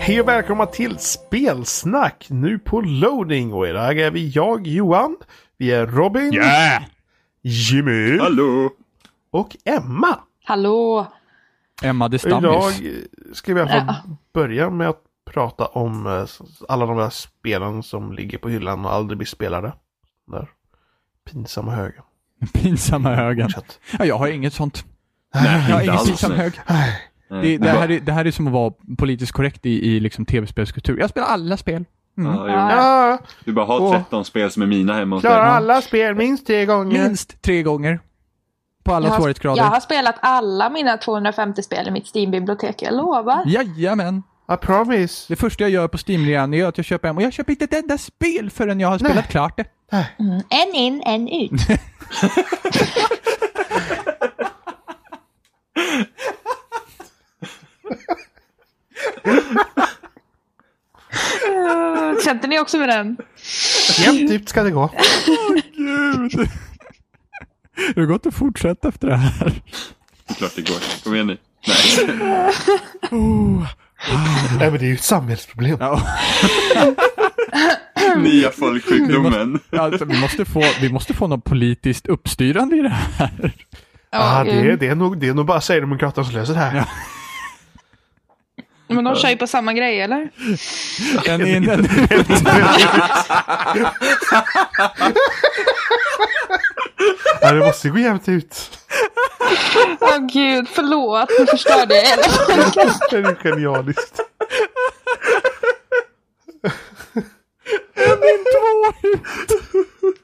Hej och välkomna till Spelsnack nu på loading. Och idag är vi jag Johan, vi är Robin, Yeah! Jimmy Hallå! och Emma. Hallå! Emma Och idag Distamis. eh, ska vi i alla fall börja med att prata om eh, s- alla de där spelen som ligger på hyllan och aldrig blir spelade. Den Där. Pinsamma högen. Pinsamma högen. Fortsätt. Ja, jag har inget sånt. Nej, Jag har inte ingen alls. pinsam hög. Nej. Det, det, här är, det här är som att vara politiskt korrekt i, i liksom tv-spelskultur. Jag spelar alla spel. Ja, jo. Ja, Du bara Åh. har 13 spel som är mina hemma hos dig. klarar alla spel minst tre gånger. Minst tre gånger. På alla Mm. Jag har, svårighetsgrader. jag har spelat alla mina 250 spel i mitt Steam-bibliotek, jag Mm. lovar. Jajamän. I promise. Det första jag gör på Steam-rean är att jag köper hem och jag köper inte ett enda spel förrän jag har spelat klart det. En in, en ut. Eh, Kände ni också med den? Jämnt ut ska det gå. Gud! Det har gått att fortsätta efter det här. Det är klart det går. Kom igen nu. Nej. Nej men det är ju ett samhällsproblem. Ja. Nya folksjukdomen. Alltså, vi, måste få, vi måste få något politiskt uppstyrande i det här. ah, Ja, det, är, gud. det, är nog, det är nog bara Sverigedemokraterna som löser det här. Men de kör ju på samma grej, eller? En in, en ut. Ja, det måste gå jämnt ut. Åh gud, förlåt, nu förstörde jag hela tanken. Det är ju genialiskt. En in, två ut.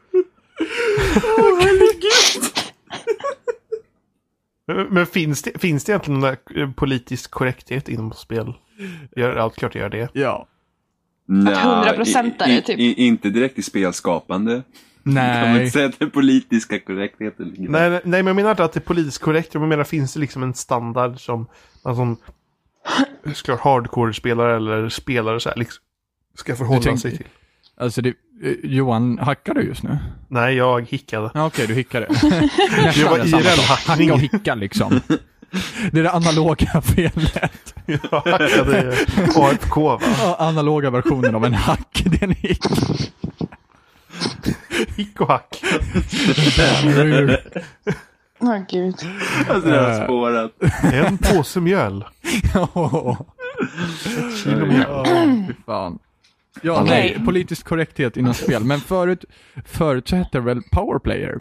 Men- Men finns det, finns det egentligen någon där, eh, politisk korrekthet inom spel? Gör allt klart det gör det. Ja. Nej, 100% i- är det, typ. i- i- Inte direkt i spelskapande. Nej. Man Nej. säga att den politiska korrektheten ligger där. Nej, nej, men jag menar inte att det är politiskt korrekt. Jag menar finns det liksom en standard som, alltså, som såklart hardcore-spelare eller spelare så här, liksom, ska förhålla tänker- sig till. Alltså, det, eh, Johan, hackar du just nu? Nej, jag hickade. Ja, okej, du hickade. Jag var känner samma IRL sak. hackning. Hacka och hicka liksom. Det är det analoga felet. Jag hackade eh, AFK va? Ja, Analoga versionen av en hack. Det är en hick. Hick och hack. Åh gud. Alltså det har spårat. En påse mjöl. Ja. Ja, fy fan. Ja, Okej. nej, politisk korrekthet inom spel. Men förut, förut så hette det väl powerplayer?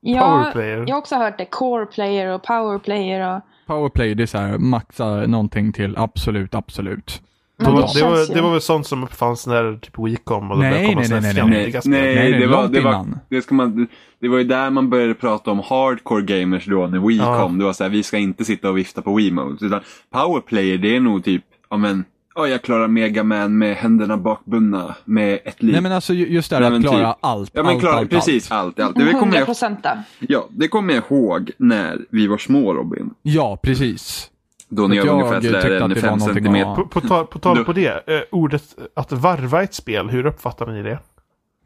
Ja, Powerplayer. Jag har också hört det. Core player och power player. Och... Powerplay, det är så här, maxa någonting till absolut, absolut. Det Men var, det, känns var, ju- det var väl sånt som uppfanns när typ Wii kom och det Nej, började komma nej, såna nej, nej, nej. Nej, fjantiga spel. nej, Nej, nej, det, var, långt det, var, innan. det, ska man, det var ju där man började prata om hardcore gamers då när Wii Ja. kom. Det var så här, vi ska inte sitta och vifta på Wiimotes. Utan powerplayer, det är nog typ, ja men, ja jag klarar Mega Man med händerna bakbundna med ett liv. Nej men alltså ju- just det här Nej, att men klara typ. allt, ja, men allt, klara, allt, precis, allt. allt, allt. Det kommer 100 jag, procent där. ja, det kommer jag ihåg när vi var små Robin. Ja, precis. Då när Att jag, var jag ungefär tyckte sådär att en det var fem någonting centimeter. att- På, på, tal, på tal Du- på det, eh, ordet att varva ett spel, hur uppfattar ni det?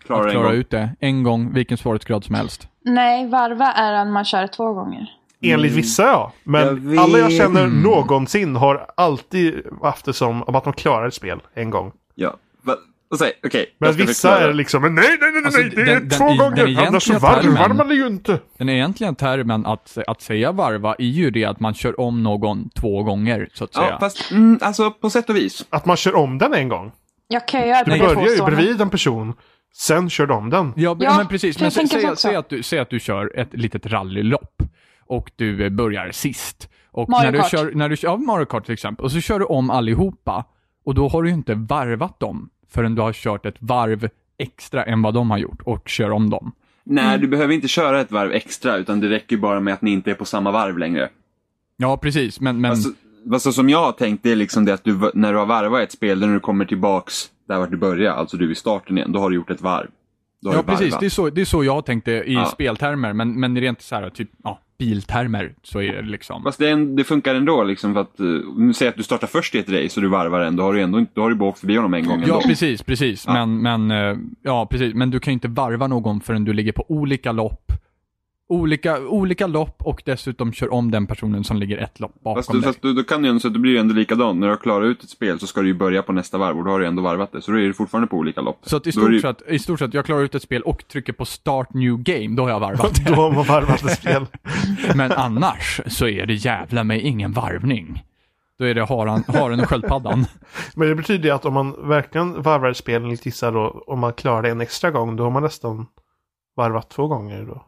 Klarar Att en klara gång. ut det en gång, vilken svårighetsgrad som helst. Nej, varva är en man kör två gånger. Enligt vissa ja, men Mm. Jag alla jag vet. känner Mm. någonsin har alltid haft det som att de klarar ett spel en gång. Ja. Va- och så här, Okej, Men jag ska vissa förklara. är liksom, men nej, nej, nej, Alltså, nej, det är den- den- två den gånger, egentliga annars så varvar termen- man det ju inte. Den egentliga termen att, att säga varva är ju det att man kör om någon två gånger, så att säga. Ja, fast mm, alltså på sätt och vis. Att man kör om den en gång. Jag kan ju göra Du det börjar ju påståendet. bredvid en person, sen kör de den. Ja, Ja, men precis. jag Men sä, tänker så säg, också. säg, att du, säg att du kör ett litet rallylopp och du eh, börjar sist. Och Mario när du Kart. kör, när du, kör- ja, Mario Kart till exempel. Och så kör du om allihopa och då har du ju inte varvat dem förrän du har kört ett varv extra än vad de har gjort och kör om dem. Nej, Mm. du behöver inte köra ett varv extra utan det räcker bara med att ni inte är på samma varv längre. Ja, precis. Men, men Alltså, alltså som jag har tänkt det är liksom det att du, v- när du har varvat ett spel, när du kommer tillbaks där vart du började, alltså du är i starten igen, då har du gjort ett varv. Då har ja, du varvat. precis. Det är, så, det är så jag tänkte i Ja. speltermer. Men, men rent så här, typ, ja, biltermer så är det liksom. Fast det, är en, det funkar ändå liksom för att, uh, säg att du startar först i ett race och du varvar en, då har du ändå inte, då har du bara åkt förbi honom en gång Ja, ändå. precis, precis. Men, men, eh, ja, precis. Men du kan ju inte varva någon förrän du ligger på olika lopp Olika, olika lopp och dessutom kör om den personen som ligger ett lopp bakom Fast, du, dig. fast du, då kan du ju ändå, så att det blir ju ändå likadant. När du har klarat ut ett spel så ska du ju börja på nästa varv och då har du ändå varvat det. Så då är du fortfarande på olika lopp. Så att i, Då är det stort ju- sett, i stort sett, jag klarar ut ett spel och trycker på start new game, då har jag varvat. Då har man varvat ett spel. Men annars så är det jävla mig ingen varvning. Då är det haren, haren och sköldpaddan. Men det betyder ju att om man verkligen varvar ett spel, enligt gissa då, om man klarar det en extra gång, då har man nästan varvat två gånger då.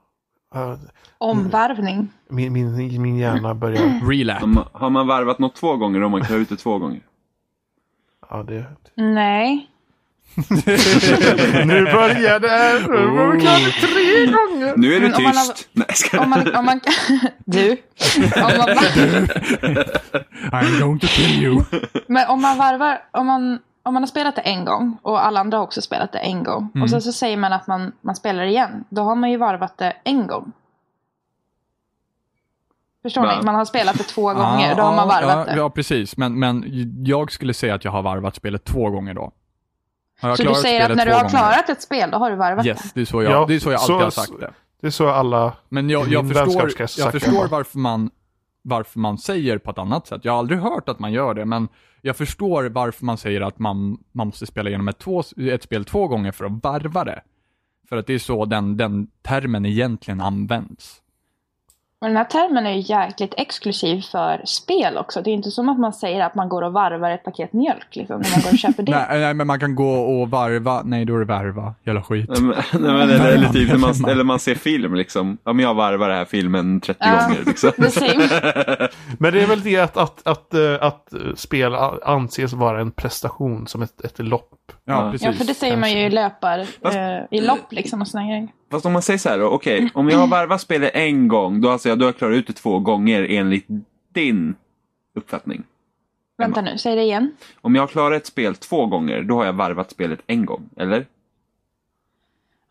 Ja, Omvarvning. Min, min, min hjärna börjar... Relap. Om man- Har man varvat något två gånger då har man klarat ut det två gånger. Ja, det... Nej. Nu börjar det! Nu börjar Oh. vi klara det tre gånger! Nu är du Men om man har- tyst! Nej, jag ska... Om man, om man, du. Om man, I'm going to kill you. men om man varvar, om man, om man har spelat det en gång och alla andra har också spelat det en gång. Och Mm. sen så säger man att man, man spelar igen. Då har man ju varvat det en gång. Förstår Va? ni? Man har spelat det två gånger. Då har man varvat Ah, ja, det. Ja, precis. Men, men jag skulle säga att jag har varvat spelet två gånger då. Har jag Så du klarat säger att spelet när du två har gånger? klarat ett spel, då har du varvat det. Yes, det är så jag, Ja, det är så jag så- alltid har sagt det. Det är så alla... Men jag, i jag min förstår, vänskapskrets jag sagt det. förstår varför, man, varför man säger på ett annat sätt. Jag har aldrig hört att man gör det, men jag förstår varför man säger att man, man måste spela igenom ett, två, ett spel två gånger för att varva det. För att det är så den, den termen egentligen används. Men den här termen är ju jäkligt exklusiv för spel också. Det är ju inte som att man säger att man går och varvar ett paket mjölk liksom, när man går och köper det. Nej, nej, men man kan gå och varva. Nej, då är det värva. Jävla skit. Nej, men- nej, men, eller, eller, typ när man, eller man ser film liksom. Ja, men jag varvar den här filmen 30 Ja. gånger liksom. The same. Men det är väl det att, att, att, eh, att spel a- anses vara en prestation, som ett, ett lopp. Ja, Ja. precis. Ja, för det säger man ju i löpar, eh, i lopp liksom och såna grejer. Fast om man säger så här då, okej, om jag har varvat spelet en gång, då, alltså, jag- då har jag klarat ut det två gånger enligt din uppfattning. Vänta nu, säg det igen. Om jag har klarat ett spel två gånger, då har jag varvat spelet en gång, eller?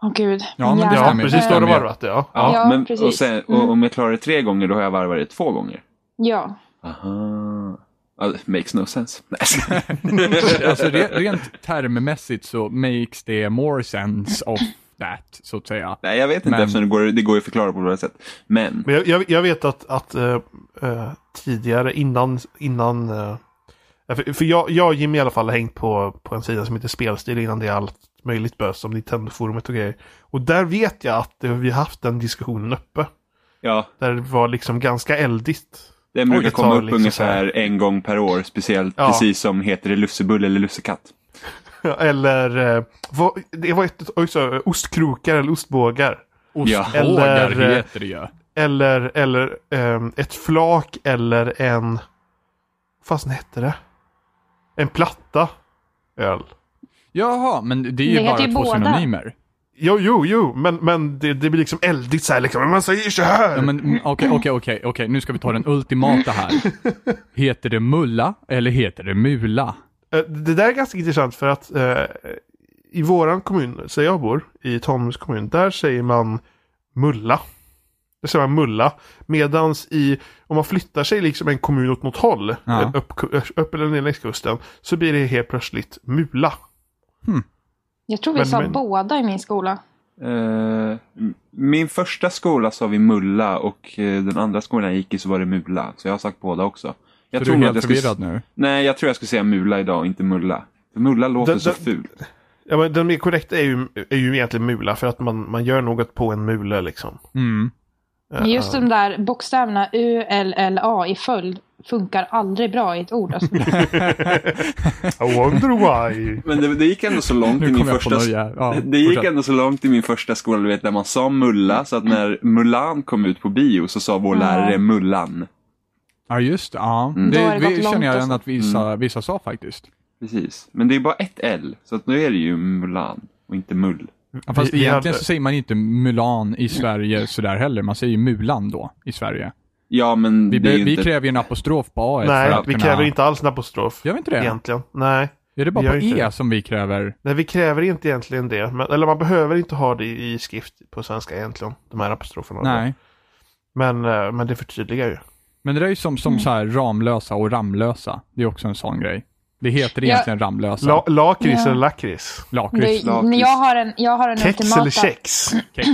Åh gud, Ja, men min det Ja, hjärna. stämmer. precis. Då har du stämmer ju. varvat det, ja. Ja, men, precis. Mm. Och sen, och, om jag klarar det tre gånger, då har jag varvat det två gånger. Ja. Aha. Ja, det makes no sense. Nej, jag skojar. alltså, re, rent termmässigt så makes det more sense of that, så att säga. Nej, jag vet inte Men- eftersom det går, det går ju att förklara på olika sätt. Men, Men jag, jag, jag vet att, att eh, eh, tidigare innan... innan eh, för för jag, jag och Jimmy i alla fall har hängt på, på en sida som heter Spelstil innan det är allt möjligt bös som Nintendo-forumet och grejer. Och där vet jag att eh, vi har haft den diskussionen uppe. ja. Där det var liksom ganska eldigt. Den Oj, brukar det komma tar upp liksom så här. ungefär en gång per år, speciellt Ja. precis som heter det lussebulle eller lussekatt. Eller... Eh, vad, det var ett, också, ostkrokar eller ostbågar. Ostbågar Eller, eh, heter det ju. Eller, eller ehm, ett flak eller en... Vad fasen hette det? En platta öl. Jaha, men det är ju Det heter bara ju två båda. synonymer. Jo, jo, jo, men, men det, det blir liksom eldigt så här liksom. Men man säger så här! Ja, men mm, okej, okej, okej, okej, nu ska vi ta den ultimata här. Heter det mulla eller heter det mula? Eh, Det där är ganska intressant för att eh, i våran kommun, där jag bor, i Tanums kommun, där säger man mulla. Där säger man mulla. Medans i, om man flyttar sig liksom en kommun åt något håll, Ja. eh, upp, upp eller ner längs kusten, så blir det helt plötsligt mula. Jag tror vi Men- sa men- båda i min skola. Eh, m- min första skola sa vi mulla och eh, den andra skolan jag gick i så var det mula. Så jag har sagt båda också. Jag Jag tror du nog är att helt jag förvirrad skulle, nu. Nej, jag tror jag skulle säga mula idag, inte mulla. För mulla låter Den- så den- fult. Ja, men den mer korrekta är ju, är ju egentligen mula för att man, man gör något på en mule liksom. Mm. Eh, Men just de där bokstäverna U, L, L, A i följd funkar aldrig bra i ett ord. Alltså. Eh, I wonder why. Men det, det gick ändå så långt Nu i min kommer jag på första... nöja. Ja, Det gick fortsätt. ändå så långt i min första skola, du vet, där man sa mulla, så att när Mulan kom ut på bio så sa vår Ja. lärare mullan. Ja, just det. Ja. Mm. Då har Det det gått vi, långt känner jag alltså. ändå att vissa, Mm. vissa sa faktiskt. Precis. Men det är bara ett L, så att nu är det ju Mulan och inte mull. Ja, fast Vi- vi egentligen hade- så säger man inte Mulan i Sverige sådär heller. Man säger ju Mulan då i Sverige. Ja, men Vi, det är be- ju vi inte... kräver ju en apostrof på A Nej, vi kräver inte alls en apostrof. Gör vi inte det? Egentligen. Nej. Är det bara gör på inte E det. som vi kräver? Nej, vi kräver inte egentligen det. Men, eller man behöver inte ha det i i skrift på svenska egentligen. De här apostroferna. Nej. Men, eh, men det förtydligar ju. Men det där är ju som, Mm. som så här Ramlösa och Ramlösa. Det är också en sån grej. Det heter Ja. egentligen Ramlösa. La, lakrits Ja. eller lakrits? Lakrits. Det, Lakrits. jag har en, jag har en Kex eller ultimata... kex? Kex.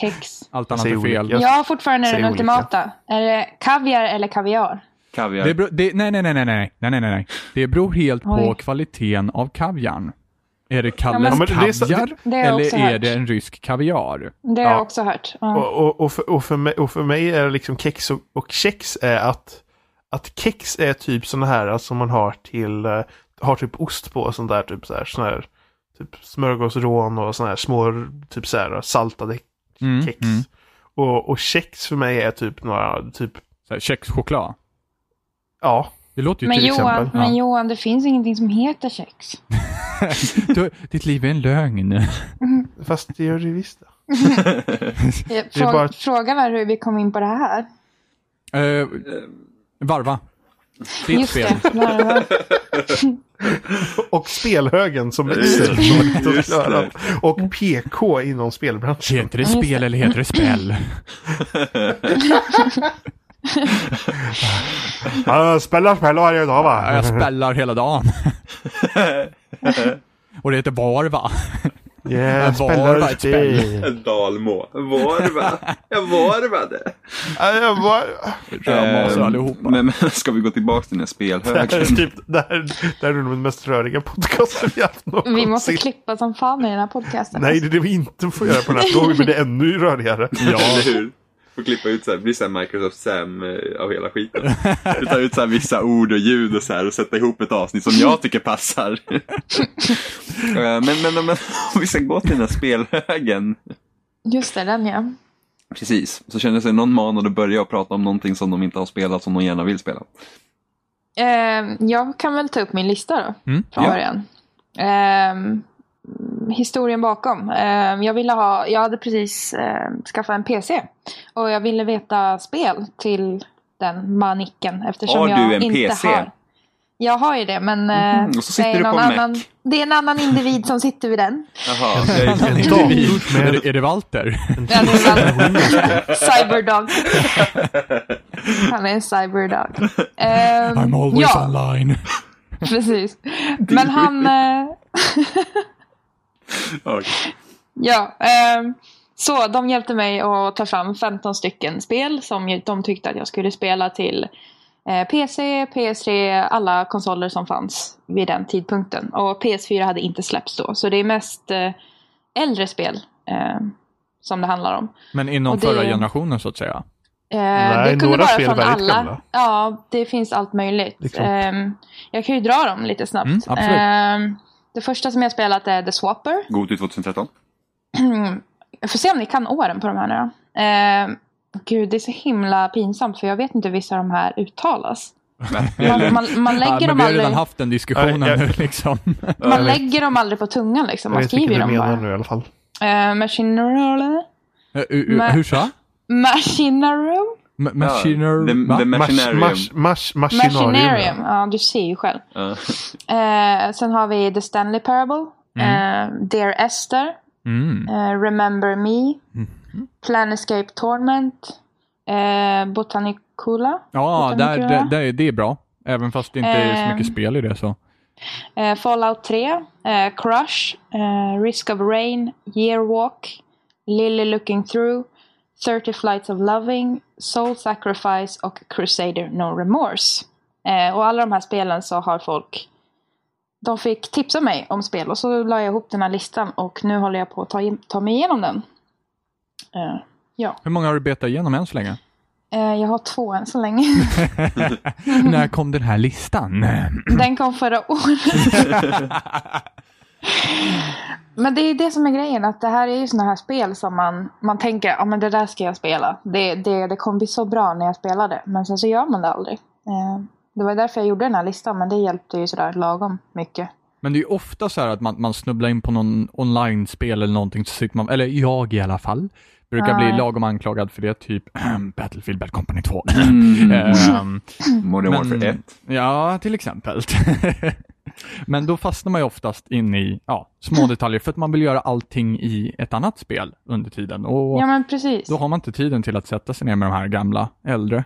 kex. Allt annat säger är fel. olika. Jag Jag har fortfarande säger den olika. ultimata. Är det kaviar eller kaviar? Kaviar. Det beror, det, nej, nej, nej, nej, nej, nej, nej, nej, nej. Det beror helt på Oj. kvaliteten av kaviarn. Är det Ja, Kalles men- Ja, men det är så- kaviar Det har jag eller också är hört. det en rysk kaviar? Det har Ja. jag också hört. Ja. Och, och, och, för, och, för mig, och för mig är det liksom kex och, och kex är att, att kex är typ sådana här alltså, som man har till, eh, har typ ost på och sånt där, typ så här, sån här typ smörgåsrån och sådana här små, typ så här saltade Mm, kex. mm. Och, och kex för mig är typ några, typ, Så här, Kexchoklad. ja, Det låter ju Men till Johan, exempel. men Johan, det finns ingenting som heter kex. Ja. Du, typ- ditt liv är en lögn. fast det gör det visst. det. Eh, är Fråga, bara- frågan är hur vi kom in på det här. Eh, varva. Det är ett Just spel. det. Larva. Och spelhögen som växer. som är Just det. förklarad. och PK inom spelbranschen. Heter det spel eller heter det spel? Ja, spelar spel varje dag Ja, va? Jag spellar hela dagen. Och det heter varva. Yeah, Var var spelar ett spel. spel. En dalmål. Varva. Jag varvade. Ja, jag var- Rödmas Ehm, allihopa. Men, men ska vi gå tillbaka till den här Det här är spelhögen? typ det här, det här är nog den mest röriga podcasten vi haft någonsin. Vi måste klippa som fan i den här podcasten. Nej, det är det vi inte får göra på den här frågan, men det är ännu rörigare. Ja. Eller hur? Får klippa ut så här, blir så här Microsoft Sam eh, av hela skiten. Vi tar ut så här vissa ord och ljud och så här och sätta ihop ett avsnitt som jag tycker passar. Eh, men, men, men, men om vi ska gå till den här spelhögen. Just det, den ja. Precis, så känner sig någon manad att börja och prata om någonting som de inte har spelat som de gärna vill spela. Ehm, jag kan väl ta upp min lista då. Mm, Från ja. början. Ehm, historien bakom. Ehm, jag, ville ha, jag hade precis ehm, skaffat en PC. Och jag ville veta spel till den manicken. Eftersom Har du jag en inte PC? har. Jag har ju det men eh, Mhm, och så sitter det, är du på någon en Mac. annan, det är en annan individ som sitter vid den. Jaha, En Är det vi? dator Är med det- Är det Walter? Ja, det är väl- cyberdog. Han är en cyberdog. Ehm, I'm always ja, online. precis. Men han... eh, Okej. Ja, ehm, så de hjälpte mig att ta fram 15 stycken spel som ju- de tyckte att jag skulle spela till eh, PC, PS3, alla konsoler som fanns vid den tidpunkten. Och PS4 hade inte släppts då, så det är mest eh, äldre spel eh, som det handlar om. Men inom Och det- förra generationen så att säga. Eh, Nej, det kunde några vara spel är från väldigt alla. gamla. Ja, det finns allt Det är möjligt. klart. Ehm, jag kan ju dra dem lite snabbt. Mm, absolut. Ehm, det första som jag spelat är The Swapper. god till 2013. Mm. Jag får se om ni kan åren på de här nu då. Eh, gud, det är så himla pinsamt för jag vet inte hur vissa av de här uttalas. Nej, eller- Man, man, man, Ja, lägger, Äh, men dem vi har redan aldrig, haft den diskussionen Ja, jag- nu liksom. man lägger dem aldrig på tungan liksom. Jag Man vet vilket skriver du dem menar bara. nu i alla fall. Eh, Machineroom. Eh, u- u- Men- Hur sa jag? Machineroom. Ma- Ja, Machiner... The, va? the Machinarium. Masch- masch- masch- Machinarium. Machinarium. Ja, du ser ju själv. Ja. Eh, sen har vi The Stanley Parable. Eh, Dear Esther. Mm. Eh, Remember Me. Mhm. Planescape Torment. Eh, Botanicula. Ja, Utan där, mycket där, göra. där, är- det är bra. Även fast det inte är så Ehm. mycket spel i det så. Eh, Fallout 3, eh, Crush, eh, Risk of Rain, Year Walk, Lily Looking Through, 30 Flights of Loving, Soul Sacrifice och Crusader No Remorse. Eh, och alla de här spelen så har folk de fick tipsa mig om spel och så la jag ihop den här listan och nu håller jag på att ta, in- ta mig igenom den. Eh, ja, Hur många har du betat igenom än så länge? eh, jag har två än så länge. När kom den här listan? Den kom förra året. men det är det som är grejen. Att det här är ju sådana här spel som man, man tänker ja men det där ska jag spela. Det, det, det kommer bli så bra när jag spelar det. Men sen så gör man det aldrig. Eh, Det var därför jag gjorde den här listan. Men det hjälpte ju sådär lagom mycket. Men det är ju ofta så här att man, man snubblar in på någon online-spel eller någonting, så sitter man, eller jag i alla fall, brukar bli Ja. lagom anklagad för det, typ Battlefield Bad Company 2. Mm. Ehm, Modern Warfare 1. Ja, till exempel. Men då fastnar man ju oftast in i ja, små detaljer för att man vill göra allting i ett annat spel under tiden. Och Ja men precis. Då har man inte tiden till att sätta sig ner med de här gamla, äldre.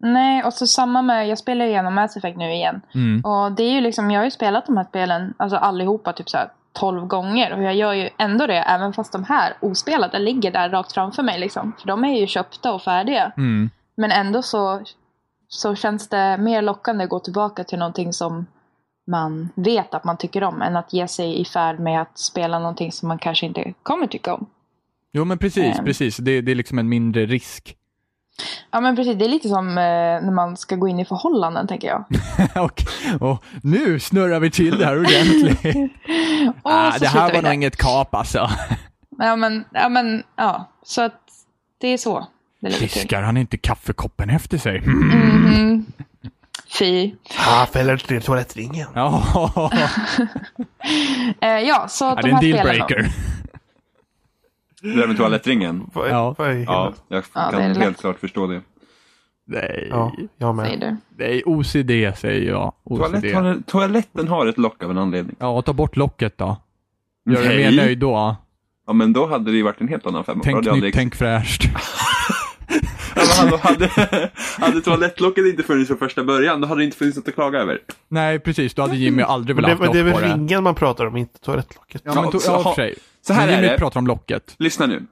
Nej och så samma med. Jag spelar ju igenom Mass Effect nu igen. Mm. Och det är ju liksom. Jag har ju spelat de här spelen. Alltså allihopa typ såhär 12 gånger och jag gör ju ändå det även fast de här ospelade ligger där rakt framför mig liksom. För de är ju köpta och färdiga. Mm. Men ändå så, så känns det mer lockande att gå tillbaka till någonting som man vet att man tycker om än att ge sig i färd med att spela någonting som man kanske inte kommer tycka om. Jo men precis, Ehm. precis. Det, det är liksom en mindre risk. Ja men precis, det är lite som eh, när man ska gå in i förhållanden tänker jag. och, och nu snurrar vi till det här ordentligt. Och Ah, så det slutar här vi var där. nog inget kap alltså. Ja men, ja men, ja. Så att det är så det ligger till. Fiskar han inte kaffekoppen efter sig? Mhm. Fy. Ah, fäller inte ner toalettringen. Ja, Eh, ja, så att det de är en här spelen då. dealbreaker. Det där med toalettringen. Vad Ja. är- vad är Ja, hyllan? jag kan Ja, det är helt lätt. klart förstå det. Nej, Ja, jag Säger med. du. nej, OCD säger jag. OCD. Toalett har, toaletten har ett lock av en anledning. Ja, ta bort locket då. Gör dig Nej. mer nöjd då. Ja, men då hade det ju varit en helt annan femma. Tänk Då hade nytt, jag aldrig- tänk fräscht. Ja, men hallå, hade, hade toalettlocket inte funnits från första början, då hade det inte funnits något att klaga över. Nej, precis. Då hade Jimmy aldrig Men velat det, ha men det är lock på väl det. ringen man pratar om, inte toalettlocket. Ja, men to- så ja, i och för ha- sig. så här Men är Jimmy det. pratar om locket. Lyssna nu.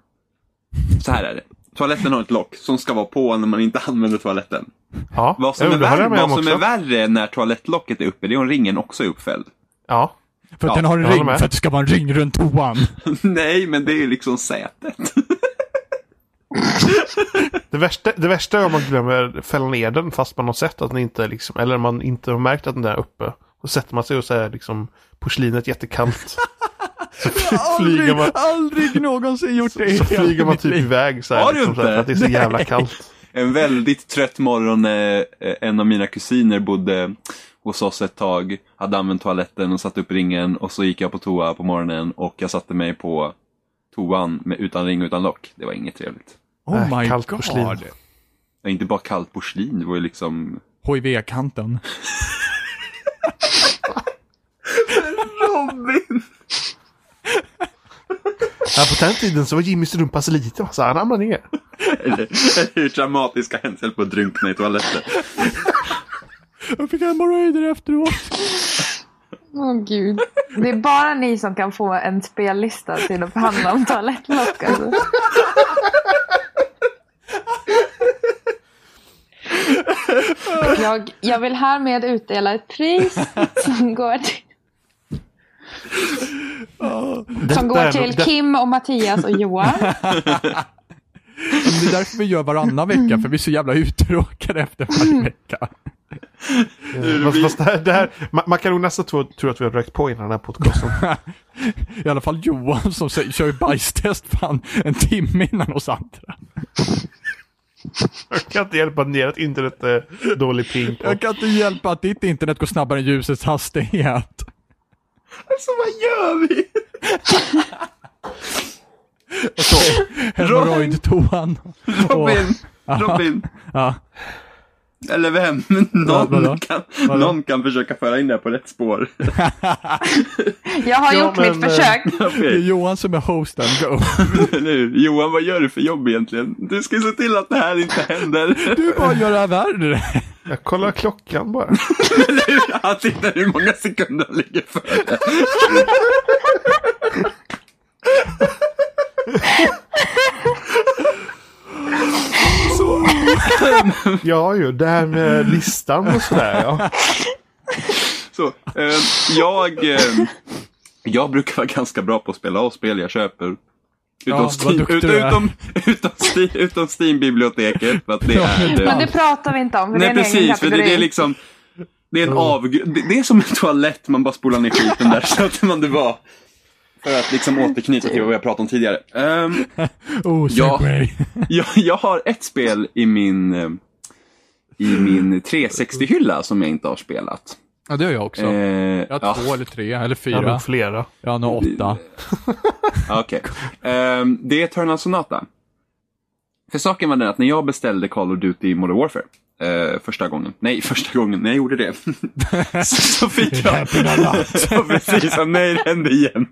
Så här är det. Toaletten har ett lock som ska vara på när man inte använder toaletten. Ja, Vad som, jo, är, det håller värre, jag med om vad som är också. värre när toalettlocket är uppe, det är om ringen också är uppfälld. Ja, För att Ja, den har en jag håller ring, för med. att det ska vara en ring runt toan. Nej, men det är ju liksom sätet. det värsta, det värsta är om man glömmer fälla ner den fast man har sett att den inte är liksom, eller man inte har märkt att den är uppe. Och sätter man sig och så är liksom porslinet jättekallt. Så fly- flyger man, aldrig någonsin gjort så flyger man typ iväg så Har här, du liksom, så här inte? för att det är så jävla kallt. En väldigt trött morgon när eh, en av mina kusiner bodde hos oss ett tag, hade använt toaletten och satt upp ringen och så gick jag på toa på morgonen och jag satte mig på toan med, utan ring och utan lock. Det var inget trevligt. Oh Äh, my kallt god. porslin. Det var inte bara kallt porslin, det var ju liksom HIV-kanten. Robin! Ja, på den tiden så var Jimmys rumpa så liten så han ramlade ner. Eller hur dramatiska händelser på att drunkna i toaletten. Jag fick hemorrojder efteråt. Åh gud. Det är bara ni som kan få en spellista till att handla om toalettlock. Alltså. Jag, jag vill härmed utdela ett pris som går till, som går till Kim och Mattias och Johan. Det är därför vi gör varannan vecka, för vi är så jävla uttråkade efter varje vecka. Fast, fast det här, det här, man, man kan nog nästan tro, tro att vi har rökt på innan den här podcasten. I alla fall Johan som säger, kör ju bajstest fan en timme innan oss andra. Jag kan inte hjälpa att ner att internet är dålig ping på. Jag kan inte hjälpa att ditt internet går snabbare än ljusets hastighet. Alltså vad gör vi? Hemorrojdtoan. Robin! Robin! Ja. Eller vem? vadå? Någon kan, någon kan försöka föra in det här på rätt spår. Jag har Ja, gjort men, mitt eh, försök. Det är Okej, Johan som är hosten. Go. nu. Johan vad gör du för jobb egentligen? Du ska ju se till att det här inte händer. Du bara gör det här värre. Jag kollar klockan bara. Han tittar hur många sekunder han ligger före. Ja ju, det här med listan och sådär ja. Så, eh, jag, eh, jag brukar vara ganska bra på att spela av spel jag köper. Utom, vad Steam, duktig ut, du är. utom, utom, Steam, utom Steam-biblioteket. För att det är... Men det pratar vi inte om. För det är Nej en egen precis, för det, kategori. det är liksom Det är en avgrund, det, det är som en toalett man bara spolar ner skiten där så att man det var För att liksom återknyta till vad jag pratade om tidigare Ehm, Oh, Ja. segway. jag, jag har ett spel i min eh, I min 360-hylla som jag inte har spelat Ja, det gör jag också. Eh, Jag ja, har två eller tre, eller Jag har fyra. nog flera. Jag har nog åtta. Ah, okej. Ehm, Det är Turna Sonata För saken var den att när jag beställde Call of Duty Modern Warfare eh, första gången, nej första gången när jag gjorde det så, så fick jag Ja, precis. Ja, nej, det hände igen.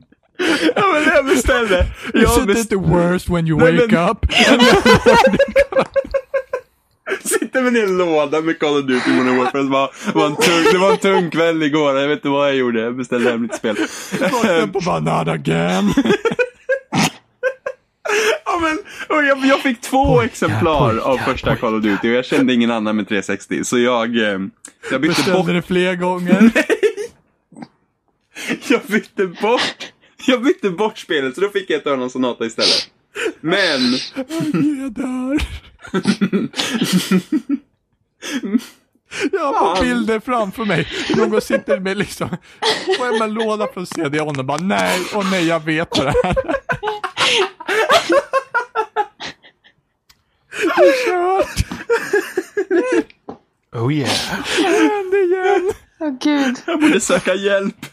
Ja, men jag beställde. Jag Isn't it beställde. the worst when you Nej, wake men- up? Sitter med en hel låda med Call of Duty Modern Warfare. Det var, det var, en tung, det var en tung kväll igår. Jag vet inte vad jag gjorde. Jag beställde hem lite spel. Vakna på Banana Game! Ja, men, och jag, jag fick två exemplar av första Call of Duty och jag kände ingen annan med 360. Så jag, eh, jag bytte bort Beställde det fler gånger. Jag bytte bort Jag bytte bort spelet så då fick jag ett Örnan Sonata istället. Men, Jag dör. Jag har på Fan. bilder framför mig. Någon sitter med liksom, på en låda från CDON och bara nej, och nej, jag vet vad det här är. Det är kört. Oh yeah. Det hände igen. Åh gud. jag borde söka hjälp.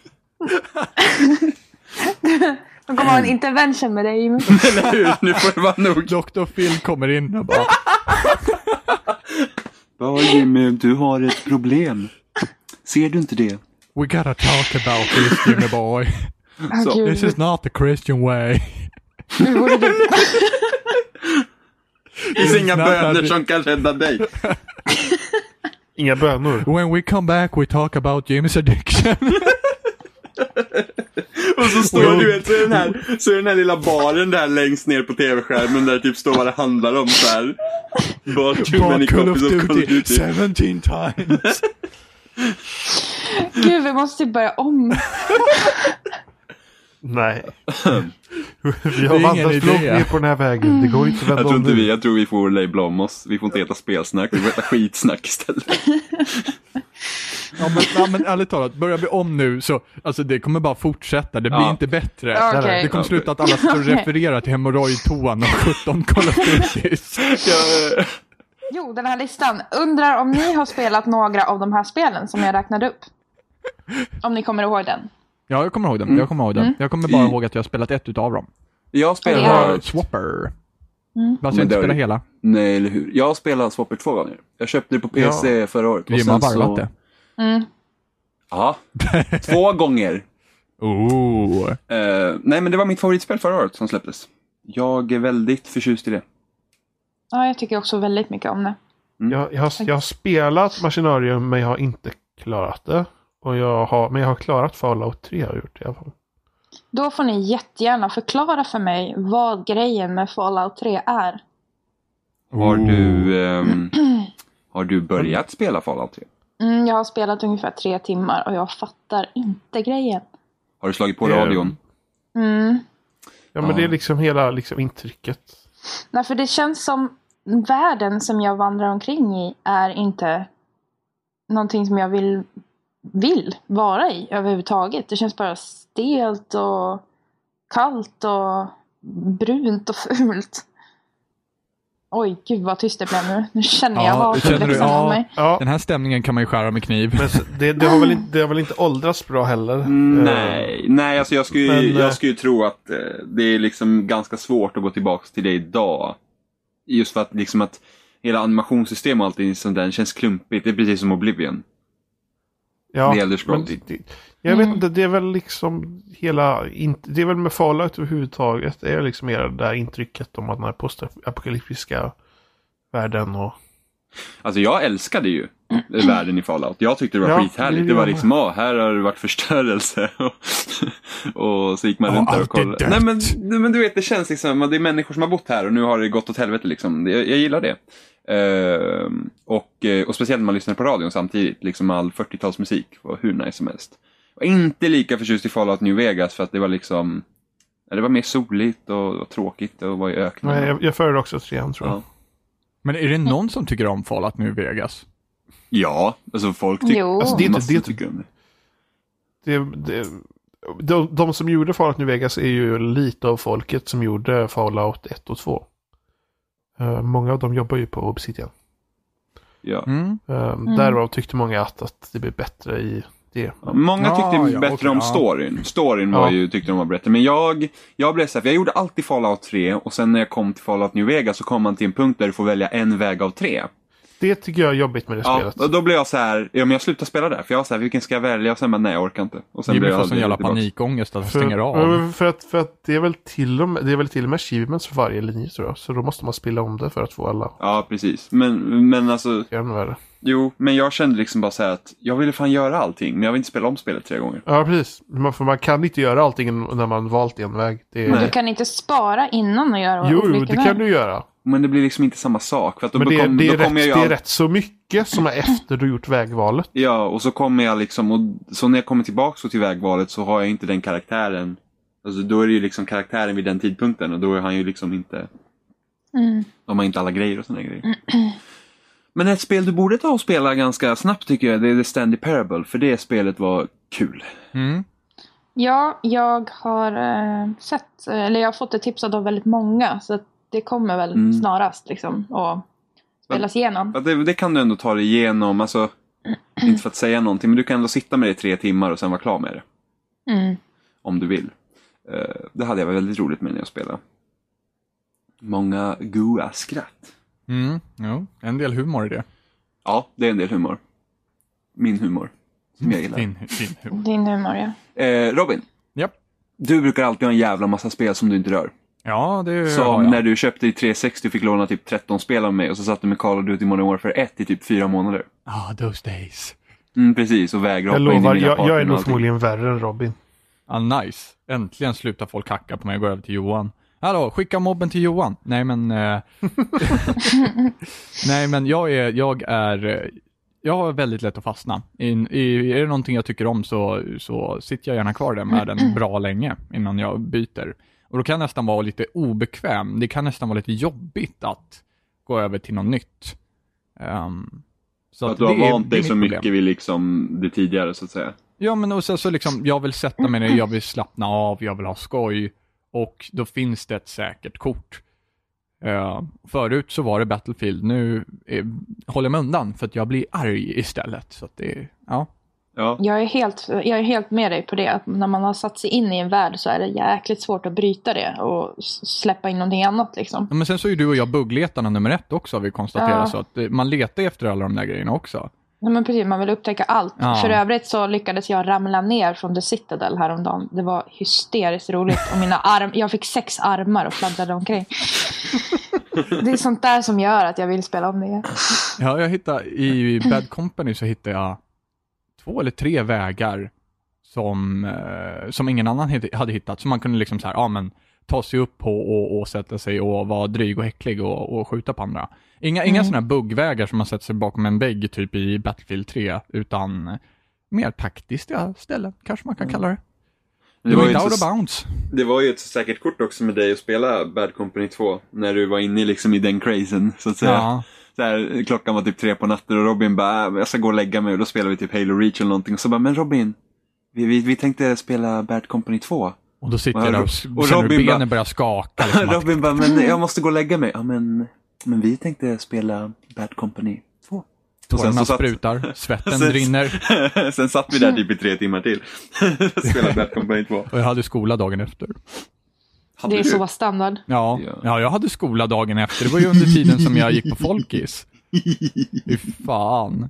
De kommer ha Mm. en intervention med dig Jimmy. Eller hur? Nu får det vara nog. Dr. Phil kommer in och bara, Ja Jimmy, du har ett problem. Ser du inte det? we gotta talk about this Jimmy boy. Åh Så, This gud. is not the Christian way. Nu borde typ- du... Det finns inga Snabbt, böner Andrew. som kan rädda dig. Inga bönor. When we come back we talk about Jimmy's addiction. Och så står du vet, så är den här, så är den här lilla baren där längst ner på tv-skärmen där det typ står vad det handlar om så här. Bara too many Bara Call of copies of Call of Duty Duty. 17 times. Gud, vi måste typ börja om. Nej. Vi Det är har ingen vandrat långt idé. ner på den här vägen. Det går inte att vända Jag tror om inte nu. vi, jag tror vi får labla om oss. Vi får inte heta spelsnack, vi får heta skitsnack istället. Ja men, ja, men ärligt talat, börjar vi om nu så, alltså det kommer bara fortsätta, det blir Ja. inte bättre. Ja, okej. Det kommer Ja, sluta att alla står och refererar till hemorrojdtoan och 17 Call of Duties. Jag, Jo, den här listan. Undrar om ni har spelat några av de här spelen som jag räknade upp. Om ni kommer ihåg den. Ja, jag kommer ihåg den, jag kommer ihåg den. Mm. Jag kommer bara ihåg att jag har spelat ett utav dem. jag Det Ja. var spelar... Swapper. Mm. Fast Men jag inte det har spelar ju- hela. Nej, eller hur. Jag spelar Swapper två gånger. Jag köpte det på PC förra året. Jim har varvat det. Ja, två gånger. Oh. Eh, nej, men det var mitt favoritspel förra året som släpptes. Jag är väldigt förtjust i det. Ja, jag tycker också väldigt mycket om det. Jag, jag, har, jag har spelat Machinarium men jag har inte klarat det. Och jag har, men jag har klarat Fallout 3 har jag gjort i alla fall. Då får ni jättegärna förklara för mig vad grejen med Fallout 3 är. Har du, ehm, Mm. har du börjat spela Fallout 3? Mm, jag har spelat ungefär tre timmar och jag fattar inte grejen. Har du slagit på Det- radion? Mm. Ja men Ah. det är liksom hela liksom, intrycket. Nej, för det känns som världen som jag vandrar omkring i är inte någonting som jag vill, vill vara i överhuvudtaget. Det känns bara stelt och kallt och brunt och fult. Oj, gud vad tyst det blev nu. Nu känner jag Ja, hatet känner du- växa ja. på mig. Ja, Den här stämningen kan man ju skära med kniv. men så- det, det, har väl inte, det har väl inte åldrats bra heller. Eh, Mm, Nej, nej alltså jag skulle, ju, Men, eh, jag skulle ju tro att eh, det är liksom ganska svårt att gå tillbaka till det idag. Just för att liksom att hela animationssystem och allting som den känns klumpigt. Det är precis som Oblivion. Ja, The Elder Scrolls. men det- det- Jag Mm. vet inte, det är väl liksom hela, in- det är väl med Fallout överhuvudtaget, det är liksom hela det där intrycket om att den här postapokalyptiska världen och... Alltså jag älskade ju världen i Fallout. Jag tyckte det var Ja, skithärligt. det Det var gör jag liksom, ah, här har det varit förstörelse. och så gick man Ja, runt där och allt är kollade. dött. Nej men, nej men du vet, det känns liksom, att det är människor som har bott här och nu har det gått åt helvete liksom. Det- Jag, jag gillar det. Ehm, och, eh, och speciellt när man lyssnar på radion samtidigt. Liksom all 40-talsmusik var hur nice som helst. Jag var inte lika förtjust i Fallout New Vegas för att det var liksom, ja, det var mer soligt och, och tråkigt och var i öknen. Nej, jag, jag föredrar också trean tror jag. Ja. Men är det någon som tycker om Fallout nu Vegas? Ja, alltså folk tycker... Jo. Alltså, Det är inte- massor det är- tycker om det. Det, det, de, de som gjorde Fallout New Vegas är ju lite av folket som gjorde Fallout 1 och 2. Eh, många av dem jobbar ju på Obsidian. Ja. Mm. Eh, Därav tyckte många att, att det blev bättre i det. Många tyckte Ja, ja, bättre okej, om ja. storyn. Storyn var Ja. ju, tyckte de var bättre. Men jag, jag blev så här, för jag gjorde alltid Fallout 3 och sen när jag kom till Fallout New Vegas så kom man till en punkt där du får välja en väg av tre. Det tycker jag är jobbigt med det Ja, spelet. och då blir jag så här, ja men jag slutar spela där. För jag var så här, vilken ska jag välja? Och sen bara, nej jag orkar inte. Och sen Jimmy blir får jag sån jävla tillbaka. panikångest att han För, stänger av. ja, för, att, för att det är väl till och med, det är väl till och med achievements för varje linje tror jag. Så då måste man spela om det för att få alla. Ja, precis. Men, men alltså, Det är ännu värre. jo, men jag kände liksom bara så här att jag ville fan göra allting. Men jag vill inte spela om spelet tre gånger. Ja, precis. Man, för man kan inte göra allting när man valt en väg. Det Men är... du kan inte spara innan och göra Jo, jo, olika det väg. kan du göra. Men det blir liksom inte samma sak. För att då, Men det, kom, det, då är rätt, kommer jag ju det är all- rätt så mycket som är efter du gjort vägvalet. Ja, och så kommer jag liksom, och så när jag kommer tillbaka så till vägvalet så har jag inte den karaktären. Alltså då är det ju liksom karaktären vid den tidpunkten och då är han ju liksom inte, Mm. de har inte alla grejer och sådana grejer. Men ett spel du borde ta och spela ganska snabbt tycker jag, det är The Stanley Parable, för det spelet var kul. Mm. Ja, jag har eh, sett, eh, eller jag har fått det tipsat av väldigt många. Så att det kommer väl Mm. snarast liksom att spelas igenom. Ja, Det, det kan du ändå ta dig igenom, alltså, inte för att säga någonting, men du kan ändå sitta med det i tre timmar och sen vara klar med det. Mm. om du vill. Eh, Det hade jag väldigt roligt med när jag spelade. Många goa skratt. Mm. Jo, en del humor i det. Ja, det är en del humor. Min humor. Som jag gillar. Fin, fin humor. Din humor ja. Eh, Robin, Japp. du brukar alltid ha en jävla massa spel som du inte rör. Ja, det Som har jag. när du köpte i 360 och fick låna typ 13 spel av mig och så satt du med Call of Duty Modern Warfare 1 i typ fyra månader. Ah, those days. Mm, precis, och vägrade Jag hoppa in i lovar, mina jag, partner jag är och nog allting. förmodligen värre än Robin. Ah, nice. Äntligen slutar folk hacka på mig och gå över till Johan. Hallå, skicka mobben till Johan. Nej men... Eh... Nej men jag är, jag är, eh, jag har väldigt lätt att fastna. In, i, är det någonting jag tycker om så, så sitter jag gärna kvar där med den bra länge innan jag byter. Och då kan jag nästan vara lite obekväm. Det kan nästan vara lite jobbigt att gå över till något nytt. Ehm, så Att du har det är- vant det är dig så mitt problem. mycket vid liksom det tidigare så att säga. Ja, men och sen så liksom, jag vill sätta mig ner, jag vill slappna av, jag vill ha skoj. Och då finns det ett säkert kort. Eh, förut så var det Battlefield, nu eh, håller jag mig undan för att jag blir arg istället. Så att det, ja. Ja, Jag är, helt, jag är helt med dig på det. Att när man har satt sig in i en värld så är det jäkligt svårt att bryta det och s- släppa in någonting annat liksom. Ja, Men sen så är ju du och jag buggletarna nummer ett också har vi konstaterat. Ja. Så att eh, man letar ju efter alla de där grejerna också. Nej, men precis, man vill upptäcka allt. Ja. För övrigt så lyckades jag ramla ner från The Citadel häromdagen. Det var hysteriskt roligt. Och mina arm, jag fick sex armar och fladdrade omkring. Det är sånt där som gör att jag vill spela om det igen. Ja, jag hittade, i Bad Company så hittade jag två eller tre vägar som, eh, som ingen annan hit- hade hittat. Så man kunde liksom så här, ja men ta sig upp på och, och sätta sig och vara dryg och häcklig och, och skjuta på andra. Inga, inga Mm. sådana här buggvägar som man sätter sig bakom en vägg typ i Battlefield 3, utan mer taktiska ställen, kanske man kan kalla det. Det var ju inte så out of bounds. Det var ju ett säkert kort också med dig att spela Bad Company 2. När du var inne liksom i den crazen, så att säga. Ja. Så här, klockan var typ tre på natten och Robin bara, "Äh, jag ska gå och lägga mig. Och då spelade vi typ Halo Reach eller någonting. Och så bara, men Robin, vi, vi, vi tänkte spela Bad Company 2. Och då sitter Och jag där och, Rob- s- och känner hur Robin bara- benen börjar skaka. Liksom, att, Robin bara, men jag måste gå och lägga mig. Ja, men, men vi tänkte spela Bad Company 2. Och sen tårarna så satt- sprutar, svetten Sen- rinner Sen satt vi där typ i tre timmar till. spela Bad Company 2. och jag hade skola dagen efter. Hade Det är du? så standard. Ja, Ja. ja, jag hade skola dagen efter. Det var ju under tiden som jag gick på Folkis. Fy fan.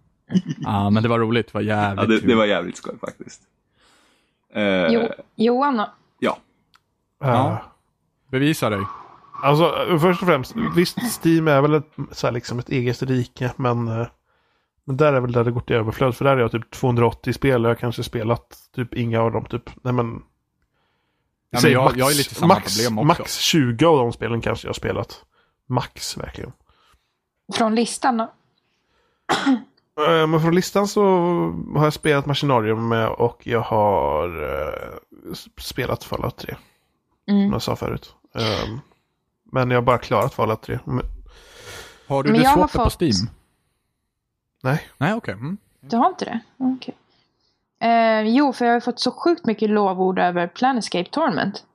Ja, men det var roligt. Det var Ja, jävligt det, kul. det var jävligt skoj faktiskt. Eh, Jo, Johan då? Ja. Ja. Eh, Bevisa dig. Alltså eh, först och främst, visst Steam är väl ett, så här, liksom ett eget rike, men, eh, men där är väl där det går till överflöd. För där är jag typ 280 spel och jag har kanske spelat typ inga av dem. Typ, nej men, Ja, men säg jag, max- jag har ju lite samma max, problem också. Max 20 av de spelen kanske jag har spelat. Max verkligen. Från listan då? Eh, Men från listan så har jag spelat Machinarium med och jag har eh, s- spelat Fallout 3. Som Mm. jag sa förut. Ehm, men jag har bara klarat Fallout 3. Men, Har du Men det jag har swappet på fått- Steam? nej. Nej, okej. Mm. Du har inte det? Okej. Eh, jo, för jag har fått så sjukt mycket lovord över Planescape Torment.